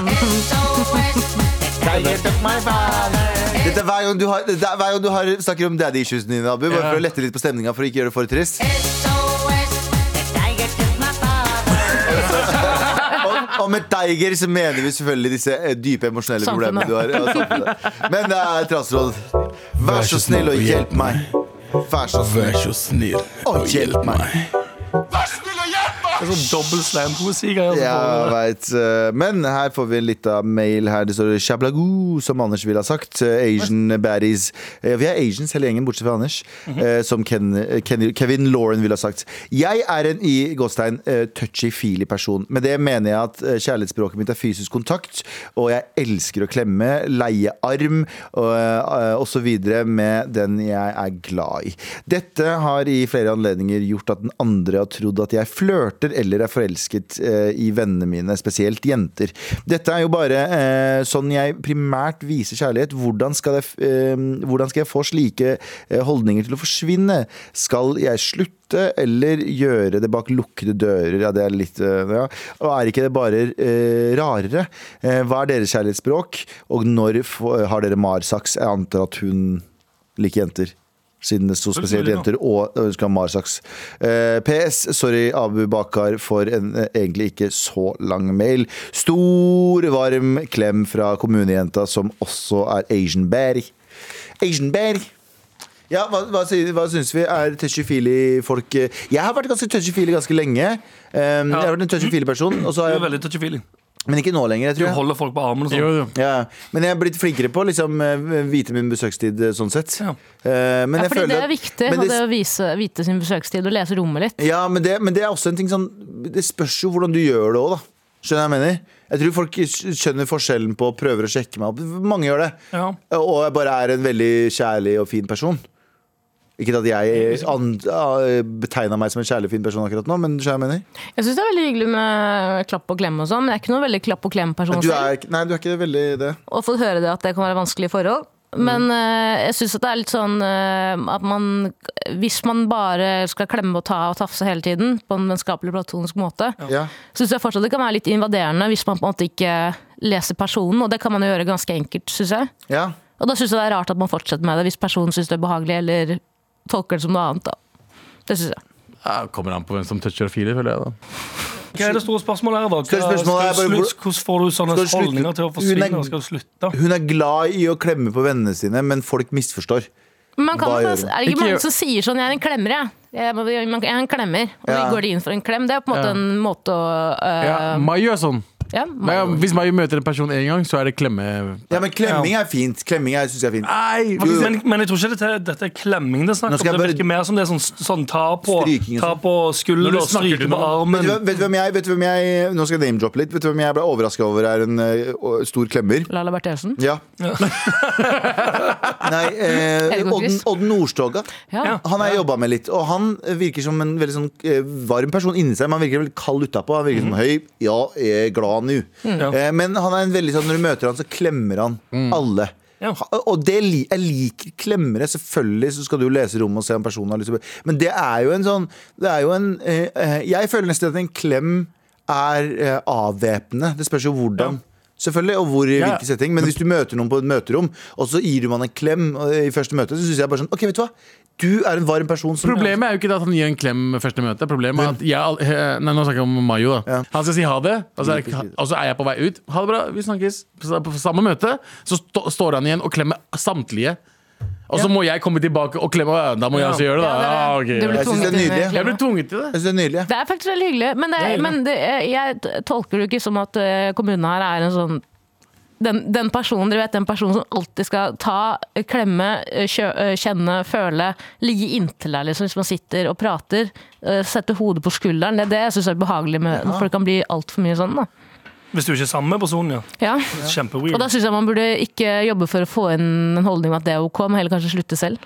[SPEAKER 2] Dette er hver gang du, har, det er hver gang du har, snakker om daddy issuesene dine, Abu. Bare
[SPEAKER 3] Ja.
[SPEAKER 2] for å lette litt på stemninga for å ikke gjøre det for trist. Om, om et tiger så mener vi selvfølgelig disse eh, dype emosjonelle problemene
[SPEAKER 4] Samfunnet.
[SPEAKER 2] du har. Ja, samfunnet. Men det er trassråd. Vær så snill og hjelp meg. Vær så snill
[SPEAKER 6] Vær så snill
[SPEAKER 2] og hjelp meg.
[SPEAKER 5] Det er sånn dobbel slam-poesi-greier.
[SPEAKER 2] Ja, jeg
[SPEAKER 5] som får-
[SPEAKER 2] vet. eh, Men her får vi en liten mail her. Det står 'Shablagoo', som Anders ville ha sagt. Eh, Asian baddies. Eh, Vi er Asians hele gjengen, bortsett fra Anders. eh, Som Ken, eh, Ken, Kevin Lauren ville ha sagt. Jeg er en i gåstein touchy-feely person. Med det mener jeg at eh, kjærlighetsspråket mitt er fysisk kontakt, og jeg elsker å klemme, leie arm og, eh, og så videre med den jeg er glad i. Dette har i flere anledninger gjort at den andre har trodd at jeg flørter eller er forelsket eh, i vennene mine, spesielt jenter. Dette er jo bare eh, sånn jeg primært viser kjærlighet. Hvordan skal jeg, f- eh, hvordan skal jeg få slike eh, holdninger til å forsvinne? Skal jeg slutte? Eller gjøre det bak lukkede dører? Ja, det er litt eh, ja. Og er ikke det bare eh, rarere? Eh, hva er deres kjærlighetsspråk? Og når få- har dere marsaks? Jeg antar at hun liker jenter. Siden det sto spesielt
[SPEAKER 5] Selvfølgelig, da.
[SPEAKER 2] jenter og ønska Marsaks. Eh, PS. Sorry, Abu Bakar, for en eh, egentlig ikke så lang mail. Stor, varm klem fra kommunejenta, som også er Asian Berry. Asian Berry. Ja, hva, hva, sy- hva syns vi? Er touchy-feely folk eh, Jeg har vært ganske touchy-feely ganske lenge. Eh, Jeg har vært en touchy-feely person, og så har
[SPEAKER 5] Du er
[SPEAKER 2] jeg,
[SPEAKER 5] veldig touchy-feely.
[SPEAKER 2] men ikke nå lenger. Jeg
[SPEAKER 5] Du
[SPEAKER 2] tror jeg.
[SPEAKER 5] holder folk på armen og
[SPEAKER 3] Jo,
[SPEAKER 5] sånn.
[SPEAKER 3] jo.
[SPEAKER 2] Ja, men jeg er blitt flinkere på å liksom, eh, vite min besøkstid, eh, sånn sett.
[SPEAKER 5] Ja.
[SPEAKER 2] Eh, men
[SPEAKER 4] Ja,
[SPEAKER 2] jeg
[SPEAKER 4] fordi
[SPEAKER 2] føler
[SPEAKER 4] det er
[SPEAKER 2] at-
[SPEAKER 4] viktig,
[SPEAKER 2] men
[SPEAKER 4] og det å vise, vite sin besøkstid og lese rommet litt.
[SPEAKER 2] Ja, men det, men det er også en ting sånn Det spørs jo hvordan du gjør det òg, da. Skjønner jeg hva jeg mener? Jeg tror folk skjønner forskjellen på å prøver å sjekke meg opp. Mange gjør det.
[SPEAKER 5] Ja.
[SPEAKER 2] Og jeg bare er en veldig kjærlig og fin person. Ikke at jeg an- ah, betegna meg som en kjærlig og fin person akkurat nå, men skjønner jeg hva jeg mener?
[SPEAKER 4] Jeg syns det er veldig hyggelig med klapp og klem og sånn, men jeg er ikke noe veldig klapp og klem-person
[SPEAKER 2] Du
[SPEAKER 4] selv.
[SPEAKER 2] er, ikke- nei, du er ikke veldig det.
[SPEAKER 4] og fått høre det at det kan være vanskelige forhold.
[SPEAKER 2] Mm.
[SPEAKER 4] Men eh, jeg syns det er litt sånn eh, at man Hvis man bare skal klemme og ta og tafse hele tiden på en vennskapelig platonisk måte,
[SPEAKER 2] Ja.
[SPEAKER 4] syns jeg fortsatt det kan være litt invaderende hvis man på en måte ikke leser personen. Og det kan man jo gjøre ganske enkelt, syns jeg.
[SPEAKER 2] ja.
[SPEAKER 4] Og da syns jeg det er rart at man fortsetter med det hvis personen syns det er behagelig eller tolker det som noe annet. Da. Det syns jeg.
[SPEAKER 3] Ja, kommer an på hvem som toucher og filer, føler jeg. da
[SPEAKER 5] Hva er det store spørsmålet her, da? Hva-
[SPEAKER 2] Større spørsmål er
[SPEAKER 5] skal du
[SPEAKER 2] bare
[SPEAKER 5] slutte- Hvordan får du sånne
[SPEAKER 2] Skal du slutte-
[SPEAKER 5] holdninger til
[SPEAKER 2] Hun
[SPEAKER 5] å
[SPEAKER 2] er-
[SPEAKER 5] forsvinne? Skal du slutte?
[SPEAKER 2] Hun er glad i å klemme på vennene sine, men folk misforstår.
[SPEAKER 4] Men man kan,
[SPEAKER 2] Hva
[SPEAKER 4] jo-
[SPEAKER 2] gjør
[SPEAKER 4] er
[SPEAKER 2] du?
[SPEAKER 4] det ikke
[SPEAKER 3] Ikke
[SPEAKER 4] mange
[SPEAKER 3] gjør-
[SPEAKER 4] som sier sånn 'jeg er en klemmer', jeg. Jeg jeg er en klemmer, og
[SPEAKER 2] Ja.
[SPEAKER 4] så går de inn for en klem. Det er på en måte
[SPEAKER 3] Ja.
[SPEAKER 4] en måte å øh,
[SPEAKER 3] Ja, Mayu er sånn.
[SPEAKER 4] ja,
[SPEAKER 3] Nei, ja, hvis Mayu møter en person én gang, så er det klemme...
[SPEAKER 2] Ja, men klemming er fint. Klemming er, synes jeg er fint.
[SPEAKER 3] Nei!
[SPEAKER 5] Men, men, men jeg tror ikke dette, dette er klemming det er snakk
[SPEAKER 2] Nå
[SPEAKER 5] om.
[SPEAKER 2] skal jeg
[SPEAKER 5] Det
[SPEAKER 2] bare-
[SPEAKER 5] virker mer som det er sånn, sånn ta på,
[SPEAKER 2] Stryking og
[SPEAKER 5] ta
[SPEAKER 2] sånn.
[SPEAKER 5] på
[SPEAKER 3] Når du
[SPEAKER 5] skulder,
[SPEAKER 3] snakker
[SPEAKER 5] stryke
[SPEAKER 3] til
[SPEAKER 5] på
[SPEAKER 3] noen.
[SPEAKER 5] armen.
[SPEAKER 2] Vet du, hva- vet, du hvem jeg, vet du hvem jeg Nå skal jeg name-droppe litt. Vet du hvem jeg ble overraska over er en eh, å- stor klemmer?
[SPEAKER 4] Lala Bertheussen.
[SPEAKER 2] Ja. Nei, eh,
[SPEAKER 4] Erik og
[SPEAKER 2] Odd,
[SPEAKER 4] Chris.
[SPEAKER 2] Odd Nordstoga.
[SPEAKER 4] Ja.
[SPEAKER 5] Ja.
[SPEAKER 2] Han har jeg jobba med litt, og han virker som en veldig sånn eh, varm person inni seg. Men han virker veldig kald utapå. Han virker som høy. Ja, jeg er glad nå.
[SPEAKER 5] Mm. Ja. Mm.
[SPEAKER 2] Eh, men han er en veldig sånn når du møter han, så klemmer han alle.
[SPEAKER 5] Ja.
[SPEAKER 2] Ha- Og det li jeg liker klemmere. Selvfølgelig så skal du lese rommet og se om personen har lyst til å Men det er jo en sånn Det er jo en eh, eh, Jeg føler nesten at en klem er eh, avvæpnende. Det spørs jo hvordan. Selvfølgelig, og hvor i
[SPEAKER 3] Ja.
[SPEAKER 2] hvilken setting. Men hvis du møter noen på et møterom, og så gir du man en klem eh, i første møte, så syns jeg bare sånn OK, vet du hva. Du er en varm person som
[SPEAKER 3] Problemet er jo ikke det at han gir en klem ved første møte. Problemet er at jeg, al- he- Nei, nå snakker jeg om Mayo. da
[SPEAKER 2] Ja.
[SPEAKER 3] Han skal si ha det, og så, er, og så er jeg på vei ut. Ha det bra, vi snakkes. På på samme møte så stå, står han igjen og klemmer samtlige. Og så må jeg komme tilbake og klemme. «Ja, Da må jeg også gjøre det, da. Ja, ok,
[SPEAKER 4] Du
[SPEAKER 2] Jeg synes
[SPEAKER 4] blir
[SPEAKER 2] det er
[SPEAKER 4] tvunget inn i
[SPEAKER 2] nydelig.
[SPEAKER 3] Jeg
[SPEAKER 4] klem.
[SPEAKER 3] ble tvunget til det.
[SPEAKER 2] Jeg synes det er nydelig.
[SPEAKER 4] Det er faktisk veldig hyggelig, men, det,
[SPEAKER 3] Det er hyggelig.
[SPEAKER 4] eh, men det, jeg tolker det ikke som at øh, kommunen her er en sånn den, den personen dere vet, den personen som alltid skal ta, klemme, eh, kjø, kjenne, føle, ligge inntil deg liksom, hvis man sitter og prater. eh, Sette hodet på skulderen. Det er det jeg syns er behagelig med når folk kan bli altfor mye sånn. da.
[SPEAKER 5] Hvis du ikke er sammen med personen, ja.
[SPEAKER 4] Ja. Og
[SPEAKER 5] Kjempeweird.
[SPEAKER 4] da syns jeg man burde ikke jobbe for å få inn en holdning om at det er ok, men heller kanskje slutte selv.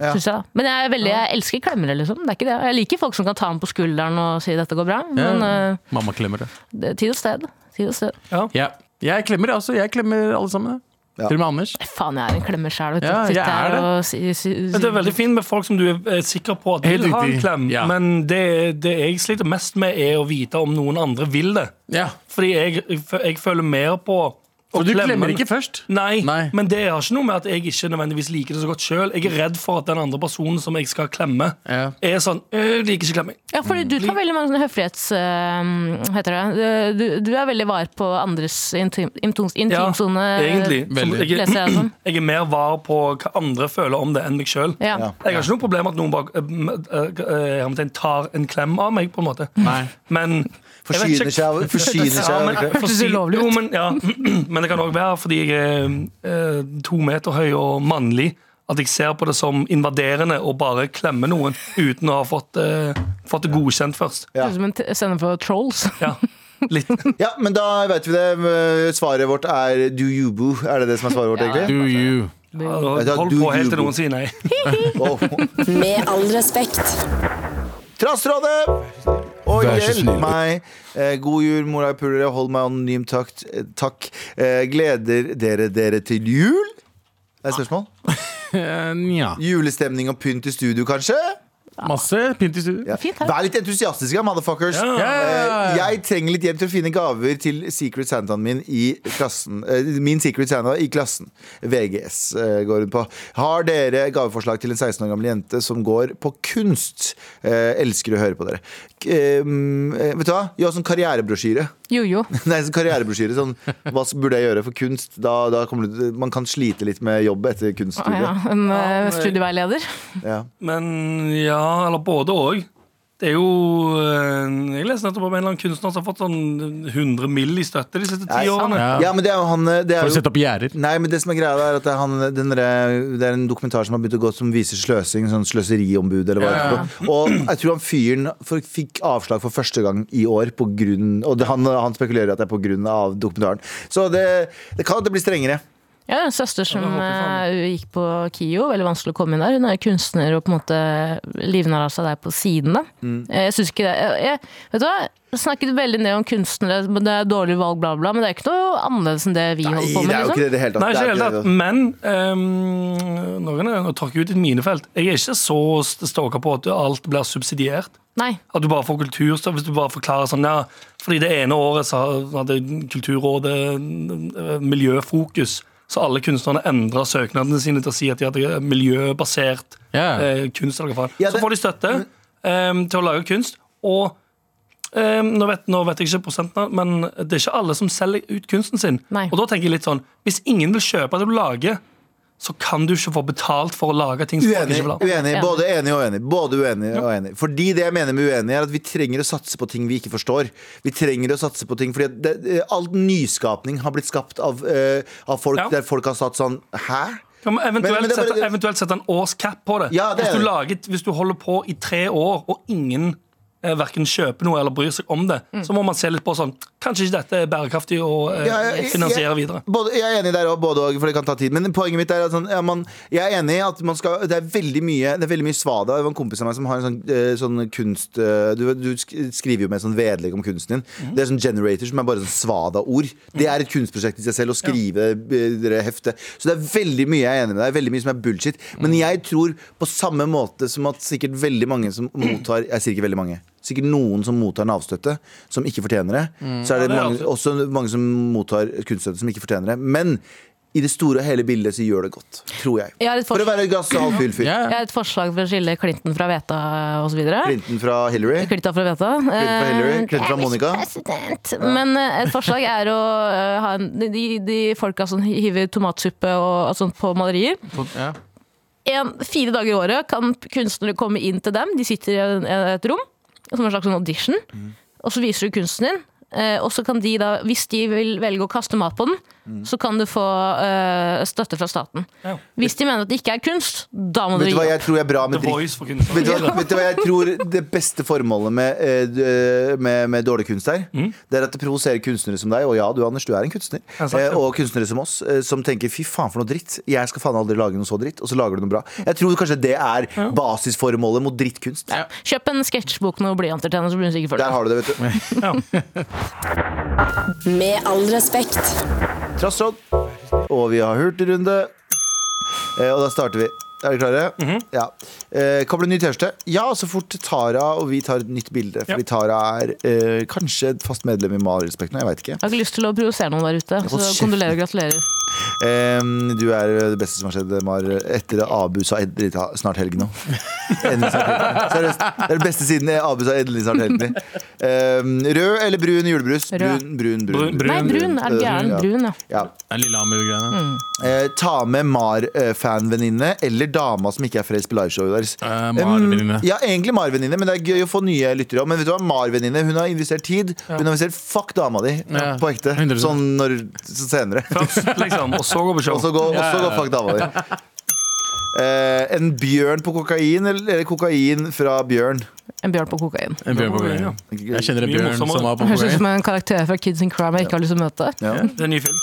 [SPEAKER 2] Ja.
[SPEAKER 4] Synes jeg. da. Men jeg, er veldig, jeg elsker klemmere, liksom. Det er ikke det. Jeg liker folk som kan ta meg på skulderen og si 'dette går bra', men eh,
[SPEAKER 3] Mamma klemmer det.
[SPEAKER 4] det er tid og sted. Tid og sted.
[SPEAKER 3] Ja. Jeg klemmer, det, altså. Jeg klemmer alle sammen.
[SPEAKER 2] Ja.
[SPEAKER 3] Til og med Anders.
[SPEAKER 4] Faen, jeg er en klemmer sjæl, vet du.
[SPEAKER 3] Ja, jeg
[SPEAKER 4] Sitter
[SPEAKER 3] er
[SPEAKER 4] her
[SPEAKER 3] det.
[SPEAKER 4] og si, si, si.
[SPEAKER 5] Men det er veldig fint med folk som du er er sikker på at
[SPEAKER 3] Helt
[SPEAKER 5] vil ha en
[SPEAKER 3] riktig.
[SPEAKER 5] klem,
[SPEAKER 3] Ja.
[SPEAKER 5] men det, det jeg sliter mest med, er å vite om noen andre vil det.
[SPEAKER 3] Ja.
[SPEAKER 5] Fordi jeg, jeg føler mer på å
[SPEAKER 3] For du
[SPEAKER 5] klemme.
[SPEAKER 3] klemmer ikke først.
[SPEAKER 5] Nei,
[SPEAKER 3] Nei.
[SPEAKER 5] men det har ikke noe med at jeg ikke nødvendigvis liker det så godt sjøl. Jeg er redd for at den andre personen som jeg skal klemme,
[SPEAKER 3] Ja.
[SPEAKER 5] er sånn «Øh, liker ikke klemming.
[SPEAKER 4] Ja, fordi du tar veldig mange sånne høflighets... eh, hva heter det? Du, du er veldig var på andres intim, intim,
[SPEAKER 5] Ja,
[SPEAKER 4] intimsone.
[SPEAKER 5] egentlig. Som,
[SPEAKER 3] Veldig.
[SPEAKER 5] jeg,
[SPEAKER 4] Leser jeg det som.
[SPEAKER 5] jeg er mer var på hva andre føler om det, enn meg sjøl.
[SPEAKER 4] Ja.
[SPEAKER 2] Ja.
[SPEAKER 5] Jeg har ikke noe problem med at noen bak, øh, øh, øh, hermetegn tar en klem av meg, på en måte.
[SPEAKER 3] Nei.
[SPEAKER 5] Men jeg vet
[SPEAKER 2] Forsyner
[SPEAKER 5] ikke-
[SPEAKER 2] seg av forsyner seg av-
[SPEAKER 5] men-
[SPEAKER 4] Hørtes ulovlig ut.
[SPEAKER 5] Jo, men, ja. men det kan òg være fordi jeg er eh, to meter høy og mannlig, at jeg ser på det som invaderende og bare klemmer noen uten å ha fått, eh, fått det godkjent først.
[SPEAKER 4] Ser ut som en t- sender for trolls.
[SPEAKER 5] Ja, litt.
[SPEAKER 2] Ja, men da vet vi det. Svaret vårt er do you boo. Er det det som er svaret vårt, egentlig?
[SPEAKER 3] Do you.
[SPEAKER 5] Hold på helt til noen sier nei.
[SPEAKER 2] Wow.
[SPEAKER 7] Med all respekt.
[SPEAKER 2] Trassrådet! Og
[SPEAKER 6] Vær så
[SPEAKER 2] hjelp
[SPEAKER 6] snill.
[SPEAKER 2] meg. Eh, god jul, morapulere. Hold meg anonym, takk. Eh, takk. Eh, gleder dere dere til jul? Det er et spørsmål.
[SPEAKER 3] Eh, Nja.
[SPEAKER 2] Julestemning og pynt i studio, kanskje?
[SPEAKER 3] Masse pynt i studio.
[SPEAKER 2] Ja.
[SPEAKER 4] Fint, takk.
[SPEAKER 2] Vær litt entusiastiske, motherfuckers.
[SPEAKER 3] Ja, ja,
[SPEAKER 2] Eh,
[SPEAKER 3] ja.
[SPEAKER 2] Jeg trenger litt hjelp til å finne gaver til Secret Santaen min i klassen. eh, Min Secret Santa i klassen. VGS eh, går hun på. Har dere gaveforslag til en 16 år gammel jente som går på kunst? Eh, elsker å høre på dere. K- eh, vet du hva? Gjør sånn karrierebrosjyre.
[SPEAKER 4] Jojo.
[SPEAKER 2] Nei, sånn karrierebrosjyre. Sånn, hva burde jeg gjøre for kunst? Da, da kommer du, man kan slite litt med jobb etter
[SPEAKER 4] Ah, ja.
[SPEAKER 2] kunststudiet.
[SPEAKER 4] En eh, studieveileder.
[SPEAKER 2] Ja.
[SPEAKER 5] Men ja, eller både òg. Det er jo eh, Jeg leste nettopp om en eller annen kunstner som har fått sånn 100 mill. i støtte de siste
[SPEAKER 2] Nei,
[SPEAKER 5] ti årene.
[SPEAKER 3] Ja.
[SPEAKER 2] ja, men det er jo han eh, det er
[SPEAKER 3] For å
[SPEAKER 2] jo,
[SPEAKER 3] sette opp gjerder.
[SPEAKER 2] Nei, men det som er greia er at det er, han, den derre- det er en dokumentar som har begynt å gå som viser sløsing, sånn sløseriombud eller hva det er. for noe. Og jeg tror han fyren for, fikk avslag for første gang i år på grunn Og det, han, han spekulerer at det er på grunn av dokumentaren. Så det, det kan at det blir strengere.
[SPEAKER 4] Jeg har en søster som
[SPEAKER 5] Ja, det håper jeg
[SPEAKER 4] eh, gikk på KIO, veldig vanskelig å komme inn der. Hun er kunstner og på en måte livnærer seg der på siden. Da.
[SPEAKER 2] Mm.
[SPEAKER 4] Eh, Jeg synes ikke det jeg, jeg, Vet du hva, jeg snakket veldig ned om kunstnere, men det er dårlig valg, bla, bla, men det er ikke noe annerledes enn det vi
[SPEAKER 2] Nei,
[SPEAKER 4] holder
[SPEAKER 2] det
[SPEAKER 4] på med.
[SPEAKER 2] er jo
[SPEAKER 4] Liksom.
[SPEAKER 2] ikke det i det hele tatt.
[SPEAKER 5] Nei,
[SPEAKER 2] Det
[SPEAKER 5] ikke
[SPEAKER 2] er
[SPEAKER 5] helt
[SPEAKER 2] ikke
[SPEAKER 5] tatt. Men ehm, noen er å tråkke ut et minefelt. Jeg er ikke så st- stoka på at alt blir subsidiert.
[SPEAKER 4] Nei.
[SPEAKER 5] At du bare får kulturstøtte hvis du bare forklarer sånn ja, Fordi det ene året så hadde Kulturrådet eh, miljøfokus. Så alle kunstnerne endra søknadene sine til å si at de hadde miljøbasert
[SPEAKER 3] Ja.
[SPEAKER 5] eh, kunst. Eller hva faen.
[SPEAKER 2] Ja, det- Mm.
[SPEAKER 5] Så får de støtte ehm, til å lage kunst. Og ehm, nå, vet, nå vet jeg ikke prosentene, men det er ikke alle som selger ut kunsten sin.
[SPEAKER 4] Nei.
[SPEAKER 5] Og da tenker jeg litt sånn Hvis ingen vil kjøpe det du lager, så kan du ikke få betalt for å lage ting som folk
[SPEAKER 2] Uenig,
[SPEAKER 5] ikke vil ha.
[SPEAKER 2] uenig, både enig og uenig. Både uenig og enig. Fordi det jeg mener med uenig, er at vi trenger å satse på ting vi ikke forstår. Vi trenger å satse på ting Fordi at det, eh, all nyskapning har blitt skapt av, eh, av folk
[SPEAKER 5] Ja.
[SPEAKER 2] der folk har satt sånn Hæ?
[SPEAKER 5] Kan man eventuelt,
[SPEAKER 2] Men- men det er bare-
[SPEAKER 5] sette, eventuelt sette en årscap på det.
[SPEAKER 2] Ja, det er
[SPEAKER 5] hvis, du
[SPEAKER 2] det.
[SPEAKER 5] lager, hvis du holder på i tre år, og ingen eh, verken kjøper noe eller bryr seg om det, så må man se litt på sånn Kanskje ikke dette er bærekraftig å eh,
[SPEAKER 2] Ja, ja, ja,
[SPEAKER 5] finansiere
[SPEAKER 2] ja.
[SPEAKER 5] videre.
[SPEAKER 2] Både, jeg er enig der også, både og, for det kan ta tid. Men poenget mitt er at sånn, ja, man, jeg er enig i at man skal, det er veldig mye Det er veldig mye svada. Det var en kompis av meg som har en sånn, eh, sånn kunst eh, du, du sk- skriver jo med sånn vedlegg om kunsten din. Det er sånn generator som er bare sånn svada-ord. Det er et kunstprosjekt i seg selv å skrive eh, det heftet. Så det er veldig mye jeg er enig med deg Veldig mye som er bullshit. Men jeg tror på samme måte som at sikkert veldig mange som mottar Jeg sier ikke veldig mange. Sikkert noen som mottar Nav-støtte, som ikke fortjener det. Så er det
[SPEAKER 5] det er
[SPEAKER 2] mange,
[SPEAKER 5] alltid-
[SPEAKER 2] også mange som mottar kunststøtte som ikke fortjener det. Men i det store og hele bildet så gjør det godt, tror jeg.
[SPEAKER 4] Jeg har et
[SPEAKER 2] For å
[SPEAKER 4] forslag,
[SPEAKER 2] være et glass halvt full fyr.
[SPEAKER 3] Ja.
[SPEAKER 4] jeg har et forslag for å skille Clinton fra Veta osv.
[SPEAKER 2] Clinton fra Hillary.
[SPEAKER 4] Clinton fra Veta.
[SPEAKER 2] Clinton fra Hillary.
[SPEAKER 4] Eh,
[SPEAKER 2] Clinton fra Monica.
[SPEAKER 4] Men eh, et forslag er å eh, ha en, de, de folka som hiver tomatsuppe og sånt på malerier.
[SPEAKER 3] Ja.
[SPEAKER 4] en, fire dager i året kan kunstnere komme inn til dem. De sitter i en- et rom, som en slags sånn audition. Og så viser du kunsten din. eh, Og så kan de da, hvis de vil velge å kaste mat på den, så kan du få eh, støtte fra staten.
[SPEAKER 5] Ja.
[SPEAKER 4] Hvis de mener at det ikke er kunst, da må du
[SPEAKER 2] Vet
[SPEAKER 4] gi
[SPEAKER 2] du hva
[SPEAKER 4] opp.
[SPEAKER 2] jeg tror er bra med
[SPEAKER 5] The
[SPEAKER 2] drikk?
[SPEAKER 5] Voice for kunstnere.
[SPEAKER 2] Vet du, hva, vet du hva jeg tror det beste formålet med, eh, d- med, med dårlig kunst er? Det er at det provoserer kunstnere som deg, og ja, du Anders, du er en kunstner.
[SPEAKER 5] Mm. Ja, sant, ja.
[SPEAKER 2] Eh, og kunstnere som oss, eh, som tenker fy faen for noe dritt. Jeg skal faen aldri lage noe så dritt. Og så lager du noe bra. Jeg tror kanskje det er basisformålet mot drittkunst.
[SPEAKER 4] Kjøp en sketsjbok med noen blyanter til henne, så blir hun sikkert for
[SPEAKER 2] Der
[SPEAKER 4] det.
[SPEAKER 2] har du det, vet du.
[SPEAKER 7] Med all respekt.
[SPEAKER 2] Trassråd. Og vi har hurtigrunde. Eh, og da starter vi. Er dere klare?
[SPEAKER 5] Mhm.
[SPEAKER 2] Ja. Eh, kommer det en ny T-skjorte? Ja, så fort Tara og vi tar et nytt bilde. Fordi
[SPEAKER 5] Ja.
[SPEAKER 2] Tara er eh, kanskje et fast medlem i Malrespekt nå, jeg veit ikke.
[SPEAKER 4] Jeg har ikke lyst til å provosere noen der ute, så
[SPEAKER 2] kjeft.
[SPEAKER 4] kondolerer og gratulerer.
[SPEAKER 2] Em, du er det beste som har skjedd, Mar, etter Abu sa endelig ta- snart helg nå. Endelig snart helg. Seriøst. Det er det beste siden Abu sa endelig snart helg. Em, rød eller brun julebrus?
[SPEAKER 4] Rød.
[SPEAKER 2] Brun, brun, brun.
[SPEAKER 5] Brun,
[SPEAKER 4] Nei, brun er gæren.
[SPEAKER 2] Ja.
[SPEAKER 4] Brun, ja.
[SPEAKER 2] Ja.
[SPEAKER 3] Den lille Amel-greiene.
[SPEAKER 2] Eh, ta med Mar-fanvenninne eller dama som ikke er fra Espelage-showet deres.
[SPEAKER 3] Eh, Mar-venninne.
[SPEAKER 2] Em, ja, egentlig Mar-venninne, men det er gøy å få nye lyttere. også. Men vet du hva, Mar-venninne, hun har investert tid. Hun har investert fuck dama di,
[SPEAKER 3] Ja.
[SPEAKER 2] på ekte.
[SPEAKER 3] 100%.
[SPEAKER 2] Sånn når, så senere.
[SPEAKER 5] Først, liksom, og så gå på show.
[SPEAKER 2] Og så gå, og så gå fuck dama di. Eh, en bjørn på kokain, eller, eller kokain fra bjørn?
[SPEAKER 4] En bjørn på kokain.
[SPEAKER 3] En bjørn på
[SPEAKER 5] Ja.
[SPEAKER 3] kokain. Jeg kjenner en
[SPEAKER 5] Mye
[SPEAKER 3] bjørn
[SPEAKER 5] morsommere.
[SPEAKER 3] som var på
[SPEAKER 4] Høres ut
[SPEAKER 3] kokain.
[SPEAKER 4] som en karakter fra Kids in Crime jeg ikke har lyst til å møte.
[SPEAKER 2] Ja.
[SPEAKER 5] Det er en ny film.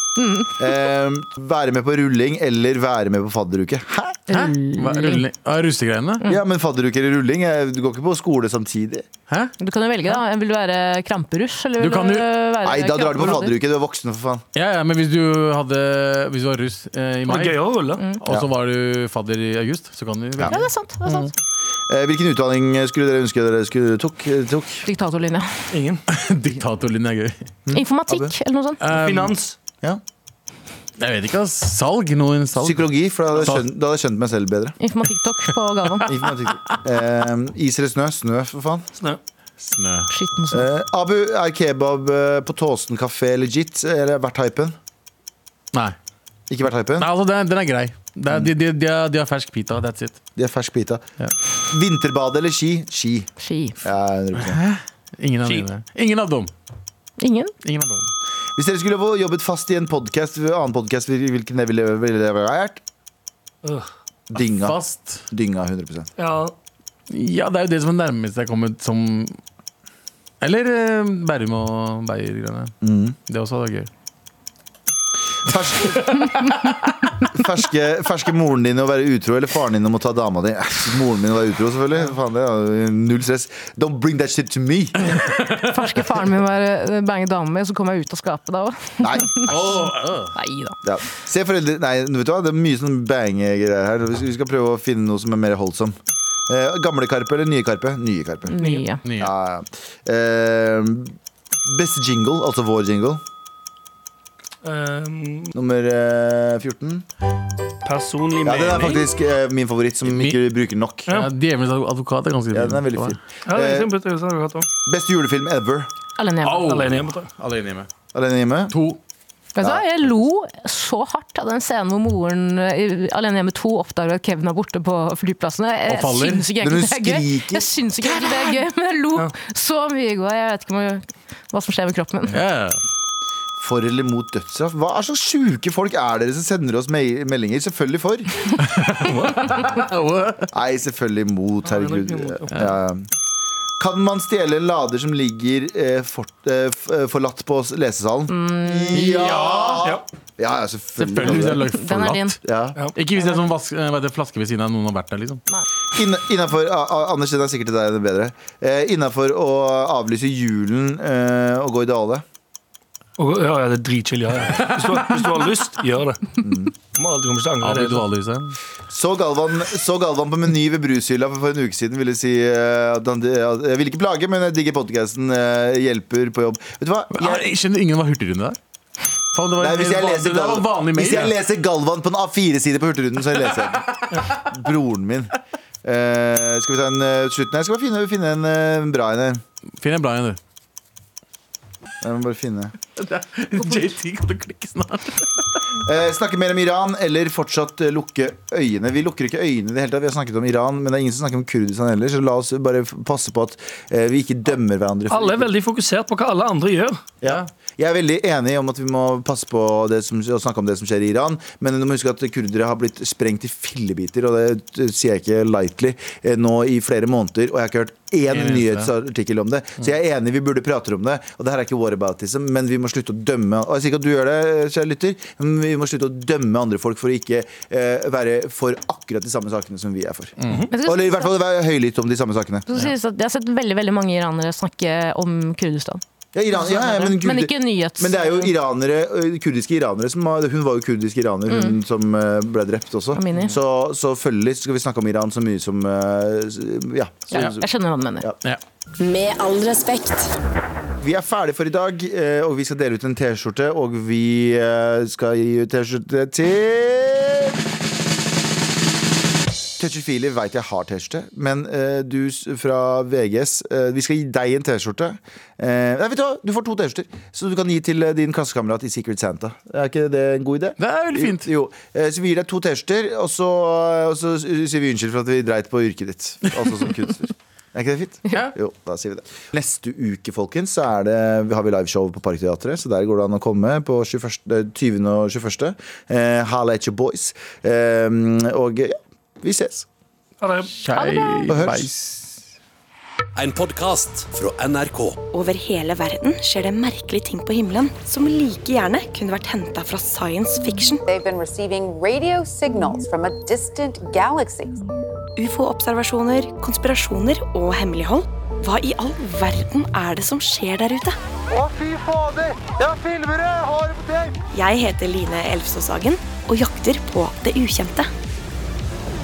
[SPEAKER 2] Eh, være med på rulling eller være med på fadderuke. Hæ?
[SPEAKER 3] Hæ? Hva, rulle- Ah, Rustegreiene?
[SPEAKER 2] Ja, men fadderuke eller rulling? eh, Du går ikke på skole samtidig.
[SPEAKER 3] Hæ?
[SPEAKER 4] Du kan jo velge, da. Vil du være kramperuss, eller
[SPEAKER 3] Du
[SPEAKER 4] vil du,
[SPEAKER 3] kan jo-
[SPEAKER 4] være
[SPEAKER 2] Nei, da drar du på
[SPEAKER 4] kramperuller?
[SPEAKER 2] fadderuke. Du er voksen, for faen.
[SPEAKER 3] Ja, ja, men hvis du, hadde, hvis du var russ eh, i
[SPEAKER 5] Det
[SPEAKER 3] mai,
[SPEAKER 5] er gøy å rulle.
[SPEAKER 3] og så var du fadder i august, så kan du
[SPEAKER 2] Ja.
[SPEAKER 4] Ja, det er sant. det er sant.
[SPEAKER 2] Eh, hvilken utdanning skulle dere ønske dere skulle tok? eh, tok?
[SPEAKER 4] Diktatorlinja.
[SPEAKER 5] Ingen.
[SPEAKER 3] Diktatorlinjen er gøy.
[SPEAKER 2] Mm.
[SPEAKER 4] Informatikk, eller noe sånt.
[SPEAKER 3] Um,
[SPEAKER 5] Finans.
[SPEAKER 3] jeg vet ikke, ass. Salg? Noen salg?
[SPEAKER 2] Psykologi, for da hadde jeg skjønt, da hadde jeg skjønt meg selv bedre.
[SPEAKER 4] Informatikk-tok på Galvan.
[SPEAKER 2] Informatikk. Eh, is eller snø? Snø, for faen.
[SPEAKER 5] Snø.
[SPEAKER 3] Snø.
[SPEAKER 4] Shit, noe sånt.
[SPEAKER 2] Eh, Abu, er kebab eh, på Tåsen kafé legit? Eller vært hypen?
[SPEAKER 3] Nei.
[SPEAKER 2] Ikke vært hypen?
[SPEAKER 3] Nei altså, den, den er grei. Det er, de, de, de, har, de har fersk pita, that's it.
[SPEAKER 2] De er fersk pita.
[SPEAKER 3] Ja.
[SPEAKER 2] Vinterbade eller ski? Ski.
[SPEAKER 4] Ski.
[SPEAKER 2] Ja, 100%.
[SPEAKER 3] Ingen av,
[SPEAKER 5] Skit.
[SPEAKER 3] mine. Ingen av dem.
[SPEAKER 4] Ingen?
[SPEAKER 3] Ingen av dem.
[SPEAKER 2] Hvis dere skulle få jobbet fast i en podcast, annen podkast, hvilken det ville ville det vært?
[SPEAKER 5] Øh.
[SPEAKER 2] Dynga.
[SPEAKER 3] Fast.
[SPEAKER 2] Dynga 100
[SPEAKER 5] Ja,
[SPEAKER 3] Ja, det er jo det som er nærmest jeg er kommet som Eller eh, Bærum og Beyer-greiene. Det også hadde vært gøy.
[SPEAKER 2] Ferske, ferske, ferske moren din å være utro, eller faren din om å ta dama di? Eh, Moren min å være utro, selvfølgelig. Faen, det er null stress. Don't bring that shit to me!
[SPEAKER 4] Ferske faren min var eh, bange dame med, så kom jeg ut av skapet da òg.
[SPEAKER 2] Nei.
[SPEAKER 4] Nei da.
[SPEAKER 2] Ja. Se foreldre Nei, vet du hva, det er mye sånn bang-greier her. Vi vi skal prøve å finne noe som er mer holdsom. Eh, gamle Karpe eller nye Karpe? Nye Karpe.
[SPEAKER 4] Nye.
[SPEAKER 3] Nye.
[SPEAKER 2] Ja, ja. Eh, beste jingle, altså vår jingle.
[SPEAKER 5] ehm,
[SPEAKER 2] Nummer eh, 14.
[SPEAKER 5] personlig
[SPEAKER 2] Ja, den er
[SPEAKER 5] mening.
[SPEAKER 2] faktisk eh, min favoritt, som ikke bruker nok.
[SPEAKER 3] Ja. Djevelens advokat er ganske
[SPEAKER 2] Ja, den er veldig fin.
[SPEAKER 5] Ja, det er
[SPEAKER 2] eh,
[SPEAKER 5] en simpel, det har du hatt om.
[SPEAKER 2] Beste julefilm ever.
[SPEAKER 4] Alene hjemme.
[SPEAKER 3] Au.
[SPEAKER 5] Alene hjemme. tror jeg.
[SPEAKER 3] Alene hjemme.
[SPEAKER 2] Alene hjemme.
[SPEAKER 3] To.
[SPEAKER 4] Vet du hva, jeg lo så hardt av den scenen hvor moren eh, i Alene hjemme 2 oppdager at Kevin er borte på flyplassen. Jeg
[SPEAKER 3] Og faller.
[SPEAKER 4] syns ikke
[SPEAKER 2] Men
[SPEAKER 4] egentlig
[SPEAKER 2] hun
[SPEAKER 4] det er gøy.
[SPEAKER 2] skriker.
[SPEAKER 4] Jeg syns ikke egentlig det er gøy, men jeg lo så mye i går. Jeg vet ikke om jeg, hva som skjer med kroppen min.
[SPEAKER 3] Ja.
[SPEAKER 2] For eller mot dødsstraff? Hva er så sjuke folk er dere som sender oss me- meldinger? Selvfølgelig for. Nei, selvfølgelig mot. Herregud.
[SPEAKER 5] Ja, det er nok imot,
[SPEAKER 2] Ja. Kan man stjele en lader som ligger eh, fort, eh, f- eh, forlatt på s- lesesalen? Ja!
[SPEAKER 5] Ja.
[SPEAKER 2] Ja, ja, selvfølgelig.
[SPEAKER 3] Selvfølgelig. Hvis det
[SPEAKER 2] kan
[SPEAKER 3] er
[SPEAKER 2] du det.
[SPEAKER 3] lagt
[SPEAKER 4] Den er
[SPEAKER 3] forlatt.
[SPEAKER 4] din.
[SPEAKER 2] Ja.
[SPEAKER 3] Ikke hvis det er sånn vask, eh, hva heter det, flaske ved siden av noen har vært der, liksom.
[SPEAKER 2] Inna- Innenfor, A- A- Anders, den er sikkert til deg det er bedre. Eh, Innafor å avlyse julen eh, og gå i dvale.
[SPEAKER 5] Og, ja, ja, det er dritchill. Ja, ja. Hvis, du har- hvis du har lyst, gjør det. Du må Mm. aldri komme til å angre.
[SPEAKER 3] Av
[SPEAKER 5] det.
[SPEAKER 3] ritualhuset.
[SPEAKER 2] Så Galvan, så Galvan på Meny ved brushylla for, for en uke siden ville si eh, at han at Jeg vil ikke plage, men jeg digger podkasten. hjelper på jobb. Vet du hva? Jeg,
[SPEAKER 3] Jeg skjønner ingen var hurtigrunde der. Faen, det var,
[SPEAKER 2] nei, hvis, jeg
[SPEAKER 3] det var-
[SPEAKER 2] leser
[SPEAKER 3] det var
[SPEAKER 2] Galvan,
[SPEAKER 3] vanlig mail.
[SPEAKER 2] hvis jeg
[SPEAKER 3] ja.
[SPEAKER 2] leser Galvan på en A4-side på Hurtigrunden, så leser jeg den. Broren min. Eh, skal vi ta en eh, slutten her? Skal vi finne, finne en eh, bra en her?
[SPEAKER 3] Finn en bra en, du.
[SPEAKER 2] Jeg må bare finne
[SPEAKER 3] JT kan du klikke snart.
[SPEAKER 2] Eh, snakke mer om Iran, eller fortsatt eh, lukke øynene. Vi lukker ikke øynene i det hele tatt. Vi har snakket om Iran, men det er ingen som snakker om Kurdistan heller, så la oss bare f- passe på at eh, vi ikke dømmer hverandre. for-
[SPEAKER 5] Alle er veldig fokusert på hva alle andre gjør.
[SPEAKER 2] Ja. Jeg er veldig enig om at vi må passe på det som, å snakke om det som skjer i Iran. Men du må huske at kurdere har blitt sprengt i fillebiter, og det eh, sier jeg ikke lightly, eh, nå i flere måneder. Og jeg har ikke hørt én
[SPEAKER 3] eneste.
[SPEAKER 2] nyhetsartikkel om det. Så jeg er enig, vi burde prate om det. Og det her er ikke whataboutism, men vi må slutte å dømme. Og jeg sier ikke at du gjør det, kjære lytter, men vi må slutte å dømme andre folk for å ikke eh, være for akkurat de samme sakene som vi er for.
[SPEAKER 4] Men skal-
[SPEAKER 2] Eller i hvert fall være høylytt om de samme sakene.
[SPEAKER 4] Så sies det at Jeg har sett veldig veldig mange iranere snakke om Kurdistan.
[SPEAKER 2] Ja, Iran, ja, ja, Altså, men,
[SPEAKER 4] Men
[SPEAKER 2] kurder-
[SPEAKER 4] ikke nyhets...
[SPEAKER 2] Men det er jo iranere, ø, kurdiske iranere som har, Hun var jo kurdisk iraner, hun som ø, ble drept også.
[SPEAKER 4] Mm. Amini.
[SPEAKER 2] Så, så følgelig skal vi snakke om Iran så mye som ø, s- Ja. Så,
[SPEAKER 4] ja, Jeg skjønner hva du mener.
[SPEAKER 2] Ja.
[SPEAKER 3] Ja.
[SPEAKER 7] Med all respekt.
[SPEAKER 2] Vi er ferdige for i dag, ø, og vi skal dele ut en T-skjorte. Og vi ø, skal gi ut T-skjorte til Touchifile veit jeg har T-skjorte, men ø, du s- fra VGS ø, eh, Vi skal gi deg en T-skjorte. Eh, nei, vet Du hva? Du får to T-skjorter, så du kan gi til ø, din klassekamerat i Secret Santa. Er ikke det en god idé?
[SPEAKER 3] Det er veldig fint.
[SPEAKER 2] Jo, eh, Så vi gir deg to T-skjorter, og, så- og så sier vi unnskyld for at vi dreit på yrket ditt. Altså som kunstner. Er ikke det fint?
[SPEAKER 3] Ja.
[SPEAKER 2] Jo, da sier vi det. Neste uke folkens, så er det, har vi liveshow på Parkteatret, så der går det an å komme på 21, eh, 20. og 21. Eh, Halla at your boys. Eh, og ja, vi ses.
[SPEAKER 5] Ja, det er
[SPEAKER 2] Og hørs.
[SPEAKER 3] Kjeiveis.
[SPEAKER 8] En podcast fra NRK.
[SPEAKER 9] Over hele verden skjer det merkelige ting på himmelen som like gjerne kunne vært henta fra science fiction.
[SPEAKER 10] They've been receiving radio signals from a distant galaxy.
[SPEAKER 9] Ufo-observasjoner, konspirasjoner og hemmelighold. Hva i all verden er det som skjer der ute? Jeg heter Line Elfsås Hagen og jakter på det ukjente.